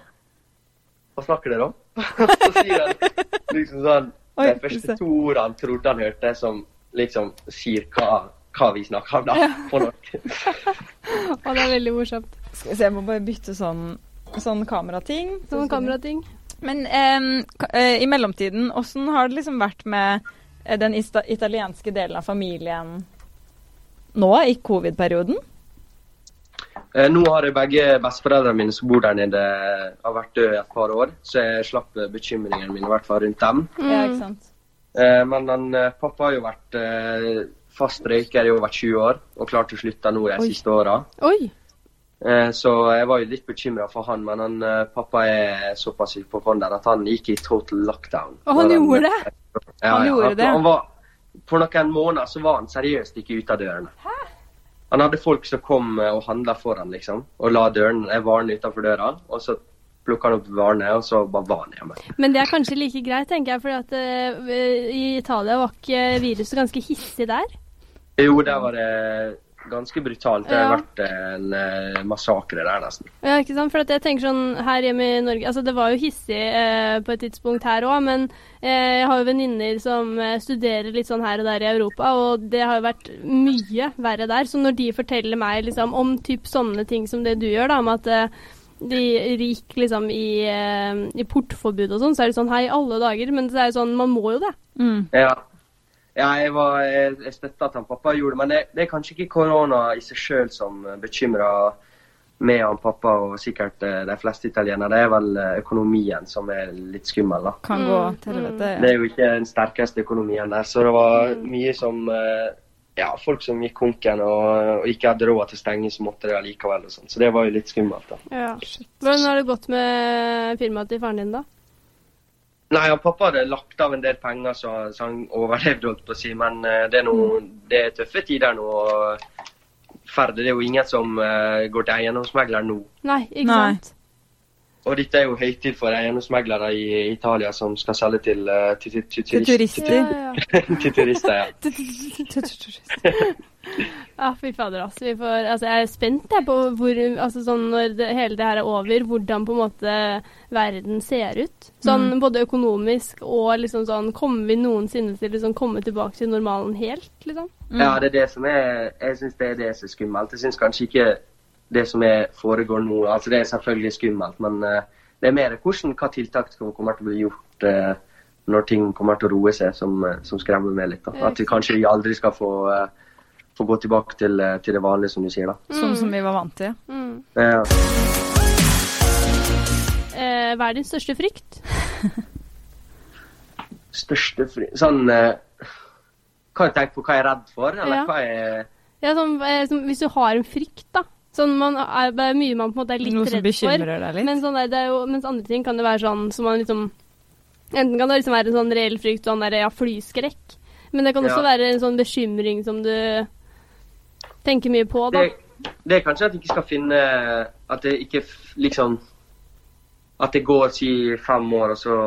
Speaker 3: Hva snakker dere om? Og så sier han liksom sånn
Speaker 1: Oi,
Speaker 3: De
Speaker 1: se.
Speaker 3: første to ordene han trodde han hørte, som liksom sier hva, hva vi snakker om, da. På norsk.
Speaker 2: Å, det er veldig morsomt.
Speaker 1: Skal vi se, jeg må bare bytte sånn, sånn kamerating.
Speaker 2: Sånn kamerating.
Speaker 1: Men em, ka- eh, i mellomtiden, åssen har det liksom vært med eh, den ista- italienske delen av familien nå i covid-perioden?
Speaker 3: Eh, Nå har jeg begge besteforeldrene mine som bor der nede, har vært døde et par år, så jeg slapp eh, bekymringene mine i hvert fall rundt dem.
Speaker 1: Ja, ikke sant?
Speaker 3: Eh, Men han, eh, pappa har jo vært eh, fast røyker i over 20 år og klart å slutte nå de
Speaker 2: Oi.
Speaker 3: siste åra. Eh,
Speaker 2: Oi!
Speaker 3: Så jeg var jo litt bekymra for han, men han, eh, pappa er såpass hypokonder at han gikk i total lockdown.
Speaker 2: Og han
Speaker 3: Når
Speaker 2: gjorde det?
Speaker 3: Ja,
Speaker 1: Han
Speaker 3: ja,
Speaker 1: gjorde det?
Speaker 3: Han var, for noen måneder så var han seriøst ikke ute av dørene. Han hadde folk som kom eh, og handla for han, liksom, og la døren, eh, varene utenfor døra. Og så plukka han opp varene, og så bare var han hjemme.
Speaker 2: Men det er kanskje like greit, tenker jeg, for at eh, i Italia var ikke viruset ganske hissig der?
Speaker 3: Jo, der var det ganske brutalt. Det
Speaker 2: Ja.
Speaker 3: har vært en eh, massakre der, nesten.
Speaker 2: Ja, ikke sant? For at jeg tenker sånn her hjemme i Norge Altså, det var jo hissig eh, på et tidspunkt her òg, men eh, jeg har jo venninner som eh, studerer litt sånn her og der i Europa, og det har jo vært mye verre der. Så når de forteller meg liksom om typ sånne ting som det du gjør, da, om at eh, de gikk liksom i, eh, i portforbud og sånn, så er det sånn hei, alle dager. Men det er jo sånn, man må jo det.
Speaker 1: Mm.
Speaker 3: Ja. Ja, jeg, var- jeg, jeg støtta at han pappa gjorde det, men det, det er kanskje ikke korona i seg sjøl som bekymra meg og han pappa og sikkert eh, de fleste italienere. Det er vel eh, økonomien som er litt skummel, da.
Speaker 1: Kan
Speaker 2: Mm,
Speaker 1: gå til helvete. Ja.
Speaker 3: Det er jo ikke den sterkeste økonomien der, så det var mye som eh, Ja, folk som gikk konken og, og ikke hadde råd til å stenge, så måtte de allikevel og sånn. Så det var jo litt skummelt, da.
Speaker 2: Ja. Hvordan har det gått med firmaet til faren din, da?
Speaker 3: Nei, han pappa hadde lagt av en del penger, så, så han overlevde, holdt på å si. Men eh, det, er noe,
Speaker 1: Mm.
Speaker 3: det er tøffe tider nå. og Ferde, det er jo ingen som eh, går til eiendomsmegler nå.
Speaker 2: Nei, ikke
Speaker 1: Nei.
Speaker 2: sant.
Speaker 3: Og dette er jo høytid for eiendomsmeglere i Italia som skal selge til, eh, til, til, til,
Speaker 1: Til
Speaker 3: turist-
Speaker 1: turister.
Speaker 2: Ja, ja, ja.
Speaker 3: til turister. ja.
Speaker 2: ja, fy fader, altså. Vi får, altså. Jeg er spent jeg, på hvor altså, sånn, når det, hele det her er over, hvordan på en måte verden ser ut. Sånn
Speaker 1: Mm.
Speaker 2: både økonomisk og liksom sånn Kommer vi noensinne til å liksom, komme tilbake til normalen helt, liksom?
Speaker 3: Ja, det er det som er Jeg syns det er det som er skummelt. Jeg syns kanskje ikke det som er, foregår nå Altså, det er selvfølgelig skummelt, men eh, det er mer hvordan hva tiltak som kommer til å bli gjort eh, når ting kommer til å roe seg, som, eh, som skremmer meg litt. da. At vi kanskje vi aldri skal få, eh, få gå tilbake til, eh, til det vanlige, som du sier, da.
Speaker 1: Sånn som vi var vant til.
Speaker 2: Mm.
Speaker 3: Ja.
Speaker 2: Eh, hva er din største frykt?
Speaker 3: Største fri... Sånn eh, Hva har jeg tenkt på hva jeg er redd for, eller
Speaker 2: Ja.
Speaker 3: hva er
Speaker 2: Ja, sånn, eh, som, hvis du har en frykt, da. Sånn, man er, det er mye man på en måte er litt
Speaker 1: Noe som
Speaker 2: redd for.
Speaker 1: bekymrer deg litt.
Speaker 2: Men sånn der, det er jo, mens andre ting kan det være sånn som man liksom Enten kan det liksom være en sånn reell frykt, sånn der, ja, flyskrekk. Men det kan også
Speaker 3: Ja.
Speaker 2: være en sånn bekymring som du tenker mye på, da.
Speaker 3: det, det er kanskje at jeg ikke skal finne At jeg ikke f- liksom At det går si fem år, og så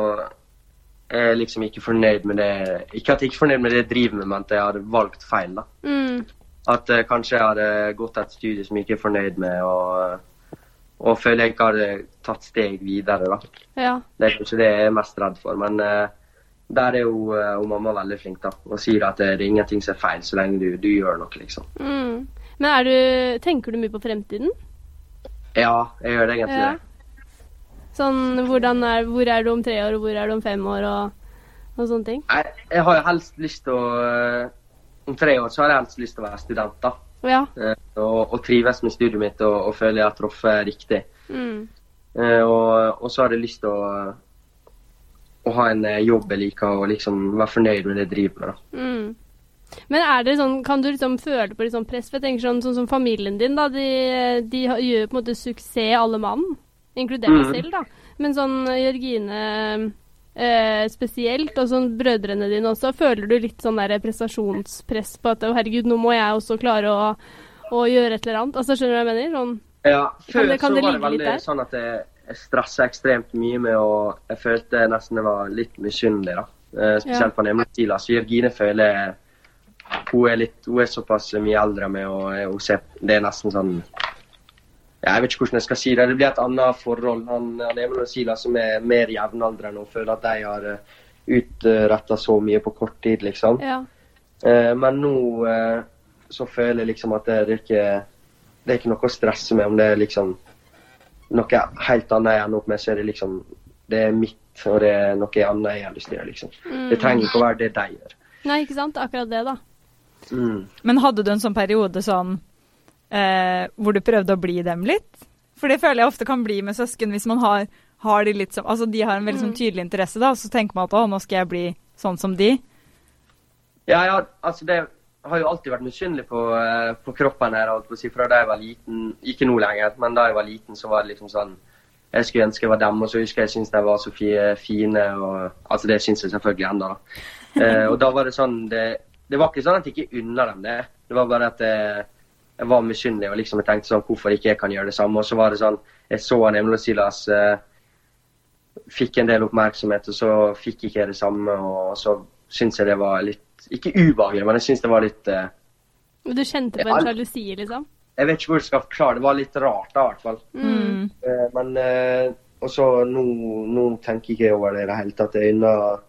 Speaker 3: er jeg liksom ikke fornøyd med det Ikke at jeg ikke er fornøyd med det jeg driver med, men at jeg hadde valgt feil. da.
Speaker 2: Mm,
Speaker 3: At eh, kanskje jeg hadde gått til et studie som jeg ikke er fornøyd med, og, og føler jeg ikke hadde tatt steg videre. da.
Speaker 2: ja.
Speaker 3: Det er kanskje det jeg er mest redd for. Men eh, der er jo, eh, jo mamma veldig flink da, og sier at eh, det er ingenting som er feil, så lenge du, du gjør noe. liksom.
Speaker 2: Mm. Men er du Tenker du mye på fremtiden?
Speaker 3: Ja, jeg gjør det egentlig.
Speaker 2: Ja.
Speaker 3: det.
Speaker 2: Sånn hvordan er Hvor er du om tre år, og hvor er du om fem år, og, og sånne ting?
Speaker 3: Jeg, jeg har jo helst lyst til å eh, Om tre år så har jeg helst lyst til å være student. da.
Speaker 2: Ja.
Speaker 3: Eh, Og, og trives med studiet mitt og, og føle jeg har truffet riktig.
Speaker 2: Mm.
Speaker 3: Eh, Og, og så har jeg lyst til å, å ha en eh, jobb jeg liker, og liksom være fornøyd med det jeg driver med. da.
Speaker 2: Mm. Men er det sånn, kan du liksom føle på litt sånn press? For jeg tenker sånn, sånn som familien din, da. De, de har- gjør på en måte suksess, alle mann. Inkludert meg
Speaker 3: Mm.
Speaker 2: selv, da. Men sånn Jørgine eh, spesielt, og sånn brødrene dine også. Føler du litt sånn der prestasjonspress på at å herregud, nå må jeg også klare å, å gjøre et eller annet? Altså, skjønner du hva jeg mener? Sånn
Speaker 3: Ja,
Speaker 2: Kan
Speaker 3: Før
Speaker 2: det- kan
Speaker 3: så
Speaker 2: det
Speaker 3: var det
Speaker 2: ligge litt
Speaker 3: veldig sånn at jeg, jeg stressa ekstremt mye med å Jeg følte nesten jeg var litt misunnelig, da. Eh, Spesielt på Nemlig Tila. Så Jørgine Altså, føler jeg hun er, litt, hun er såpass mye eldre enn meg, og jeg- hun ser, det er nesten sånn ja, Jeg vet ikke hvordan jeg skal si det. Det blir et annet forhold. Han, han Emil og Sila som er mer jevnaldrende og føler at de har utretta så mye på kort tid, liksom.
Speaker 2: Ja.
Speaker 3: Eh, men nå eh, så føler jeg liksom at det, det, er ikke, det er ikke noe å stresse med om det er liksom noe helt annet jeg ender opp med, så er det liksom Det er mitt, og det er noe annet jeg har lyst til å gjøre, liksom. Det trenger ikke å være det de gjør.
Speaker 2: Nei, ikke sant? Akkurat det, da.
Speaker 3: Mm.
Speaker 1: Men hadde du en sånn periode sånn eh, hvor du prøvde å bli dem litt? For det føler jeg ofte kan bli med søsken hvis man har, har de litt som Altså de har en veldig sånn tydelig interesse, da, og så tenker man at å, nå skal jeg bli sånn som de.
Speaker 3: Ja, ja, altså det har jo alltid vært misunnelig på, eh, på kroppen her, holdt på å si, fra da jeg var liten. Ikke nå lenger, men da jeg var liten, så var det liksom sånn Jeg skulle ønske jeg var dem, og så husker jeg jeg syntes de var så fi- fine, og Altså, det syns jeg selvfølgelig ennå, da. Eh, og da var det sånn det, det var ikke sånn at jeg ikke unna dem det. Det var bare at jeg, jeg var misunnelig og liksom jeg tenkte sånn Hvorfor ikke jeg kan gjøre det samme? Og så var det sånn Jeg så han Emil og Silas eh, fikk en del oppmerksomhet, og så fikk ikke jeg det samme. Og så syntes jeg det var litt Ikke ubehagelig, men jeg syntes det var litt eh,
Speaker 2: Du kjente på
Speaker 3: Ja.
Speaker 2: en sjalusi, liksom?
Speaker 3: Jeg vet ikke hvor jeg skal forklare det. var litt rart, da, i hvert fall.
Speaker 1: Mm.
Speaker 3: Eh, men eh, Og så nå, nå tenker jeg ikke over det i det hele tatt. Jeg unner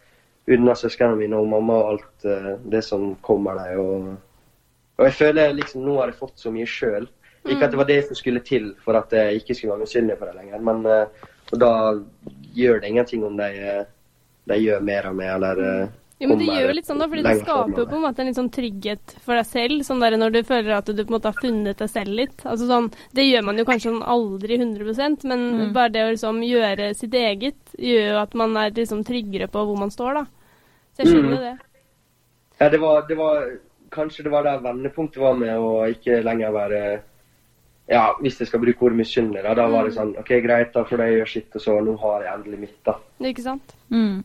Speaker 3: unner søsknene mine og mamma og alt eh, det som kommer dem. Og, og jeg føler liksom nå har jeg fått så mye sjøl. Ikke
Speaker 2: Mm.
Speaker 3: at det var det som skulle til for at jeg ikke skulle være misunnelig på det lenger, men eh, og da gjør det ingenting om de, eh, de gjør mer av meg eller eh,
Speaker 2: Jo, men det
Speaker 3: kommer
Speaker 2: gjør jo litt sånn da, fordi det
Speaker 3: lenger foran
Speaker 2: skaper jo
Speaker 3: meg.
Speaker 2: på en måte en litt sånn trygghet for deg selv, sånn der når du føler at du på en måte har funnet deg selv litt. Altså sånn, det gjør man jo kanskje sånn aldri 100 men bare det å liksom gjøre sitt eget gjør jo at man er liksom tryggere på hvor man står, da. Så jeg skjønner jo det.
Speaker 3: Ja, det var, det var Kanskje det var der vendepunktet var med å ikke lenger være ja, hvis jeg skal bruke ordet misunne, da, da
Speaker 2: Mm.
Speaker 3: var det sånn OK, greit, da får de gjøre sitt, og så nå har jeg endelig mitt, da.
Speaker 2: Ikke sant?
Speaker 1: Mm.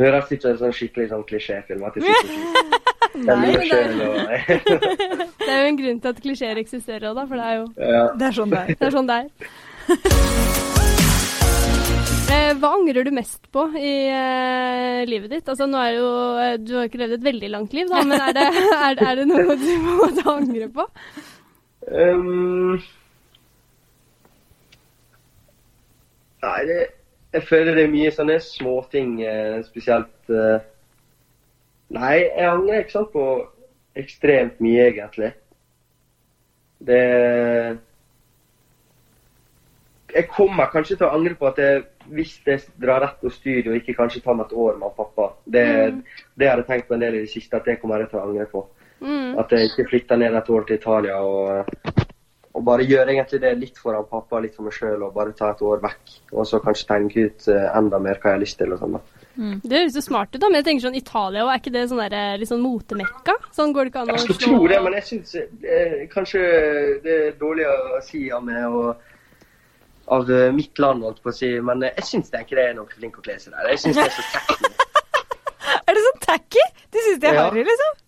Speaker 3: Det høres ut som en sånn skikkelig sånn klisjéfilm. at jeg sitter og
Speaker 2: Nei, men
Speaker 3: kjenner meg
Speaker 2: det,
Speaker 3: selv og
Speaker 2: det er jo en grunn til at klisjeer eksisterer òg, da. For det er jo
Speaker 3: ja.
Speaker 1: Det er sånn det er.
Speaker 2: det er sånn det er. Eh, Hva angrer du mest på i eh, livet ditt? Altså, nå er jo, eh, Du har jo ikke levd et veldig langt liv, da, men er det, er, er det noe du på en måte angrer på?
Speaker 3: Ehm, nei, det, jeg føler det er mye sånne småting, eh, spesielt eh, Nei, jeg angrer ikke sant på ekstremt mye, egentlig. Det Jeg kommer kanskje til å angre på at jeg, hvis jeg drar rett på studio og ikke kanskje tar meg et år med pappa Det, det har jeg tenkt på en del i det siste, at det kommer jeg til å angre på.
Speaker 2: Mm.
Speaker 3: At jeg ikke flytta ned et år til Italia og, eh, og bare gjør egentlig det litt foran pappa, litt for meg sjøl, og bare ta et år vekk. Og så kanskje tenke ut eh, enda mer hva jeg har lyst til og sånn. da.
Speaker 2: Det høres jo smart ut, da, men jeg tenker sånn Italia, og er ikke det sånn der, eh, litt sånn motemekka? Sånn går det ikke an å
Speaker 3: Jeg skulle
Speaker 2: slå-
Speaker 3: tro det, men jeg syns eh, kanskje det er dårlig å si av meg og av eh, mitt land, holdt på å si, men eh, jeg syns ikke det er noen flink å kle seg der. Jeg syns det er så tacky.
Speaker 1: Er det sånn tacky? Du syns det er
Speaker 3: Ja.
Speaker 1: harry, liksom?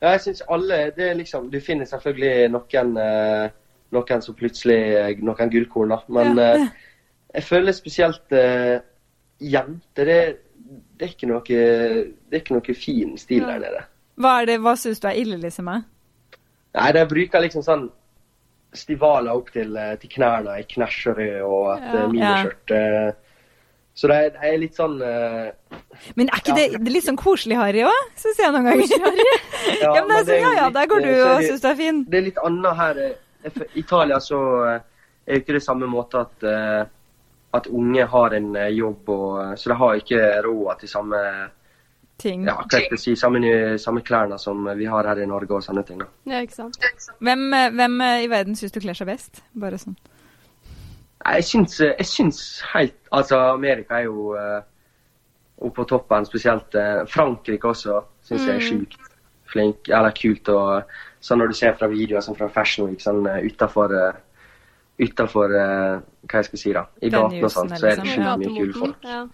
Speaker 3: Ja, jeg synes alle det er liksom, Du finner selvfølgelig noen, eh, noen som plutselig eh, Noen gullkorn, da. Men eh, jeg føler spesielt eh, jenter det, det, er ikke noe, det er ikke noe fin stil der nede.
Speaker 1: Hva, er det- hva syns du er ille, liksom? eh?
Speaker 3: Nei, de bruker liksom sånn stivaler opp til, eh, til knærne i knæsj og rød og et
Speaker 2: Ja.
Speaker 3: eh, miniskjørt. eh. Så de de er litt sånn eh,
Speaker 1: Men er ikke
Speaker 3: Ja.
Speaker 1: det, det er litt sånn koselig harry òg, syns jeg noen ganger. ja, men det er sånn,
Speaker 3: jo
Speaker 1: ja ja,
Speaker 3: litt,
Speaker 1: der går
Speaker 3: eh,
Speaker 1: du
Speaker 3: så er
Speaker 1: og
Speaker 3: det-
Speaker 1: syns du er fin.
Speaker 3: det er litt annet her. eh, for I Italia så eh, er jo ikke det samme måte at, eh, at unge har en eh, jobb, og, eh, så de har ikke råd til samme,
Speaker 1: Ting.
Speaker 3: ja, hva skal jeg si, samme, ny- samme klærne som vi har her i Norge og sånne ting. Da.
Speaker 2: Ja, ikke sant?
Speaker 1: Hvem, eh, hvem eh, i verden syns du kler seg best? Bare sånn.
Speaker 3: Nei, Jeg syns, eh, jeg syns helt Altså, Amerika er jo eh, oppe på toppen, spesielt eh, Frankrike også, syns
Speaker 1: Mm.
Speaker 3: jeg er sjukt flink, eller kult. og sånn Når du ser fra videoer sånn fra Fashion Week sånn eh, utenfor, eh, utenfor eh, hva jeg skal si da, i
Speaker 1: Den
Speaker 3: gaten og
Speaker 1: jusen,
Speaker 3: sånt, så er
Speaker 1: liksom.
Speaker 3: det
Speaker 1: Ja.
Speaker 3: sjukt mye kule folk.
Speaker 2: Ja.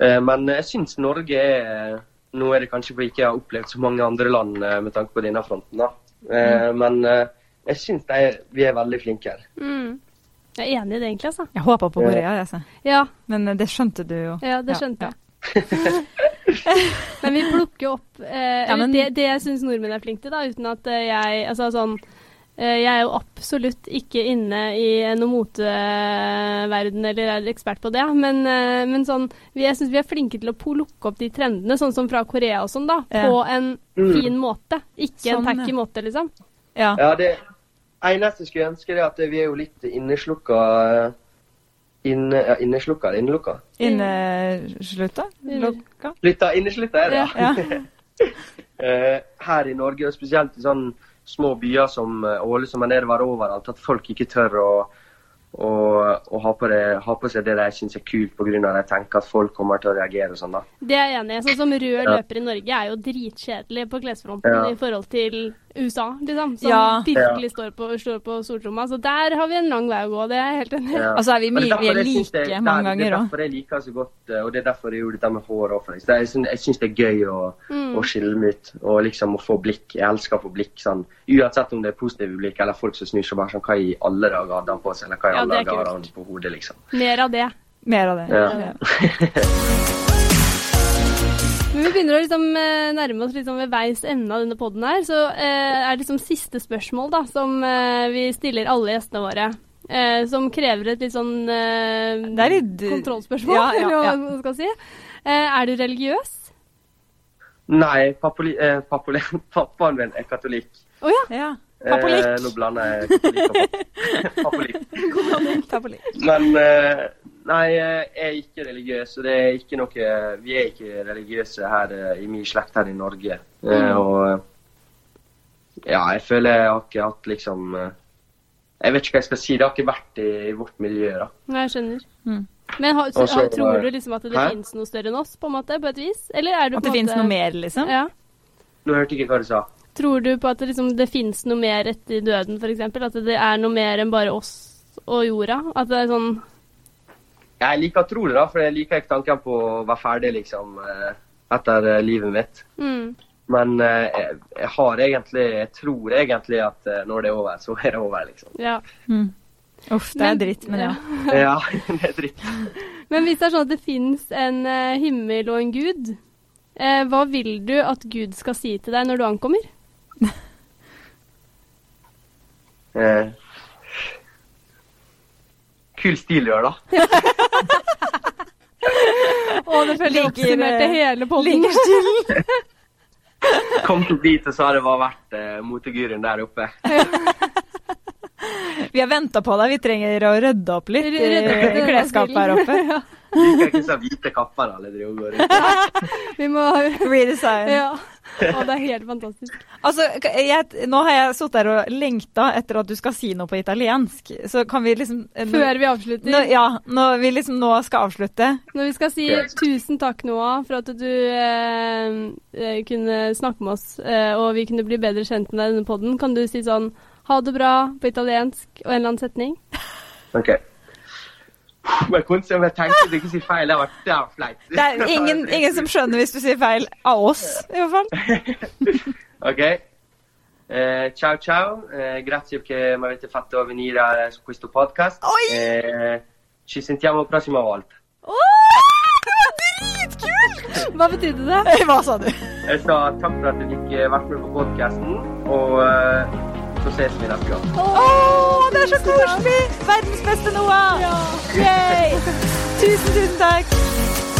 Speaker 3: Eh, Men jeg syns Norge er eh, Nå er det kanskje fordi jeg ikke har opplevd så mange andre land eh, med tanke på denne fronten, da. Eh,
Speaker 1: Mm.
Speaker 3: Men eh, jeg syns de er- vi er veldig flinke her.
Speaker 2: Mm. Jeg er enig i det, egentlig. altså.
Speaker 1: Jeg håpa på
Speaker 3: Ja.
Speaker 1: Korea, jeg, altså.
Speaker 2: Ja,
Speaker 1: men eh, det skjønte du jo.
Speaker 2: ja det skjønte
Speaker 1: ja.
Speaker 2: jeg. men vi plukker jo opp eh,
Speaker 1: Ja, men-
Speaker 2: det, det jeg syns nordmenn er flinke til, da, uten at eh, jeg Altså sånn eh, Jeg er jo absolutt ikke inne i noe moteverden eller er ekspert på det, men, eh, men sånn vi- Jeg syns vi er flinke til å po- lukke opp de trendene, sånn som fra Korea og sånn, da.
Speaker 1: Ja.
Speaker 2: På en fin måte. Ikke
Speaker 1: Sånn,
Speaker 2: en tacky
Speaker 1: ja.
Speaker 2: måte, liksom.
Speaker 1: Ja.
Speaker 3: Ja, det eneste jeg skulle ønske, det er at vi er jo litt inneslukka eh, inne, ja, Inneslukka eller innelukka?
Speaker 1: Inneslutta? Lokka?
Speaker 3: Litt av inneslukka er det, ja.
Speaker 1: Ja.
Speaker 3: Eh, her i Norge, og spesielt i sånn små byer som eh, Ålesund og nedover overalt, at folk ikke tør å, å, å ha, på det, ha på seg det de syns er kult, pga. at de tenker at folk kommer til å reagere og sånn. da.
Speaker 2: Det er jeg enig i. Sånn som rød løper i Norge er jo dritkjedelig på klesfronten
Speaker 3: Ja.
Speaker 2: i forhold til USA, liksom. Som
Speaker 1: Ja.
Speaker 2: virkelig står på, står på stortromma. Så der har vi en lang vei å gå, det er jeg helt enig i.
Speaker 3: Ja.
Speaker 1: Altså, er vi
Speaker 3: Og det
Speaker 1: mye- vi er
Speaker 3: derfor jeg synes det-
Speaker 1: like
Speaker 3: det er-
Speaker 1: mange
Speaker 3: Det
Speaker 1: ganger
Speaker 3: er
Speaker 1: også.
Speaker 3: derfor jeg liker så godt, eh, og det er derfor jeg gjorde dette med hår òg, faktisk. Det er- Jeg syns- Jeg syns det er gøy å, å skille meg ut, og liksom å få blikk. Jeg elsker å få blikk sånn, uansett om det er positive blikk eller folk som snur seg bare sånn Hva i alle dager hadde han på seg, eller hva i
Speaker 2: Ja,
Speaker 3: alle
Speaker 2: det er
Speaker 3: dager hadde han
Speaker 2: kult.
Speaker 3: på hodet, liksom.
Speaker 2: Mer av det.
Speaker 1: Mer av det.
Speaker 3: Ja.
Speaker 1: Ja.
Speaker 2: Men vi begynner å liksom, eh, nærme oss liksom ved veis ende av denne poden her. Så eh, er det liksom siste spørsmål da, som eh, vi stiller alle gjestene våre. Eh, som krever et litt sånn eh,
Speaker 1: Det er litt-
Speaker 2: kontrollspørsmål,
Speaker 1: Ja, ja, ja.
Speaker 2: eller hva man skal si. Eh, er du religiøs?
Speaker 3: Nei, papoli, eh, papoli, pappaen min er katolikk.
Speaker 2: Å ja.
Speaker 1: ja.
Speaker 3: Eh,
Speaker 1: Papolikk.
Speaker 3: nå blander jeg katolikk og pap- papolikk.
Speaker 1: Papolikk.
Speaker 3: Men eh, nei, eh, jeg er ikke religiøs, og det er ikke noe Vi er ikke religiøse her eh, i min slekt her i Norge. Eh, Og eh, ja, jeg føler jeg har ikke hatt liksom eh, Jeg vet ikke hva jeg skal si. Det har ikke vært i, i vårt miljø, da.
Speaker 2: Ja, jeg skjønner.
Speaker 1: Mm.
Speaker 2: Men har,
Speaker 3: Og så-
Speaker 2: har, tror du liksom at det
Speaker 3: Hæ?
Speaker 2: finnes noe større enn oss, på en måte, på et vis? Eller er du
Speaker 1: At
Speaker 2: på
Speaker 1: det
Speaker 2: en
Speaker 1: fins
Speaker 2: måte-
Speaker 1: noe mer, liksom?
Speaker 2: Ja.
Speaker 3: Nå hørte jeg ikke hva du sa.
Speaker 2: Tror du på at det, liksom, det fins noe mer etter døden, f.eks.? At det er noe mer enn bare oss og jorda? At det er sånn
Speaker 3: Jeg liker å tro det, da, for jeg liker ikke tanken på å være ferdig liksom, eh, etter eh, livet mitt.
Speaker 2: mm,
Speaker 3: Men eh, jeg, jeg har egentlig Jeg tror egentlig at eh, når det er over, så er det over, liksom.
Speaker 2: Ja.
Speaker 1: Mm. Uff, det er
Speaker 2: Men-
Speaker 1: dritt, men ja.
Speaker 3: Ja, det er dritt.
Speaker 2: Men hvis det er sånn at det fins en eh, himmel og en gud, eh, hva vil du at Gud skal si til deg når du ankommer?
Speaker 3: Eh, kul stil du har, da.
Speaker 2: Og det føler jeg
Speaker 1: Ligger,
Speaker 2: oppsummerte
Speaker 1: eh,
Speaker 2: hele podden.
Speaker 1: Ligger still.
Speaker 3: Kom til dit, og så har det bare vært eh, moteguruen der oppe.
Speaker 1: Vi har venta på deg, vi trenger å rydde opp litt i
Speaker 2: Rydde opp i
Speaker 1: i klesskapet her oppe.
Speaker 2: Ja.
Speaker 3: Liker ikke så hvite kapper alle driver og går rundt.
Speaker 2: Vi må
Speaker 1: Redesign.
Speaker 2: Ja. Å, det er helt fantastisk.
Speaker 1: Altså, k- jeg, nå har jeg sittet her og lengta etter at du skal si noe på italiensk, så kan vi liksom
Speaker 2: Før vi avslutter,
Speaker 1: nå, Ja, når vi liksom nå skal avslutte.
Speaker 2: når vi skal si tusen takk, Noah, for at du eh, eh, kunne snakke med oss, eh, og vi kunne bli bedre kjent med deg i denne podden, kan du si sånn ha det bra på italiensk og en eller annen setning?
Speaker 3: Ok. Men kunst, jeg tenkte at jeg ikke sier feil. Det har vært det har vært flaut.
Speaker 1: Det er ingen, ingen som skjønner hvis du sier feil av oss, i hvert fall.
Speaker 3: Ok. Eh, ciao ciao, Eh, grazie che mi avete fatto venire eh, su questo podcast.
Speaker 1: Oi!
Speaker 3: Eh, ci sentiamo la prossima volta.
Speaker 1: Det var dritkult!
Speaker 2: Hva betydde det?
Speaker 1: Hva sa du?
Speaker 3: Jeg sa takk for at du fikk eh, vært med på podkasten, og eh, så ses vi neste gang.
Speaker 1: Å, det er så koselig! Verdens beste Noah! Yay! Tusen, tusen takk.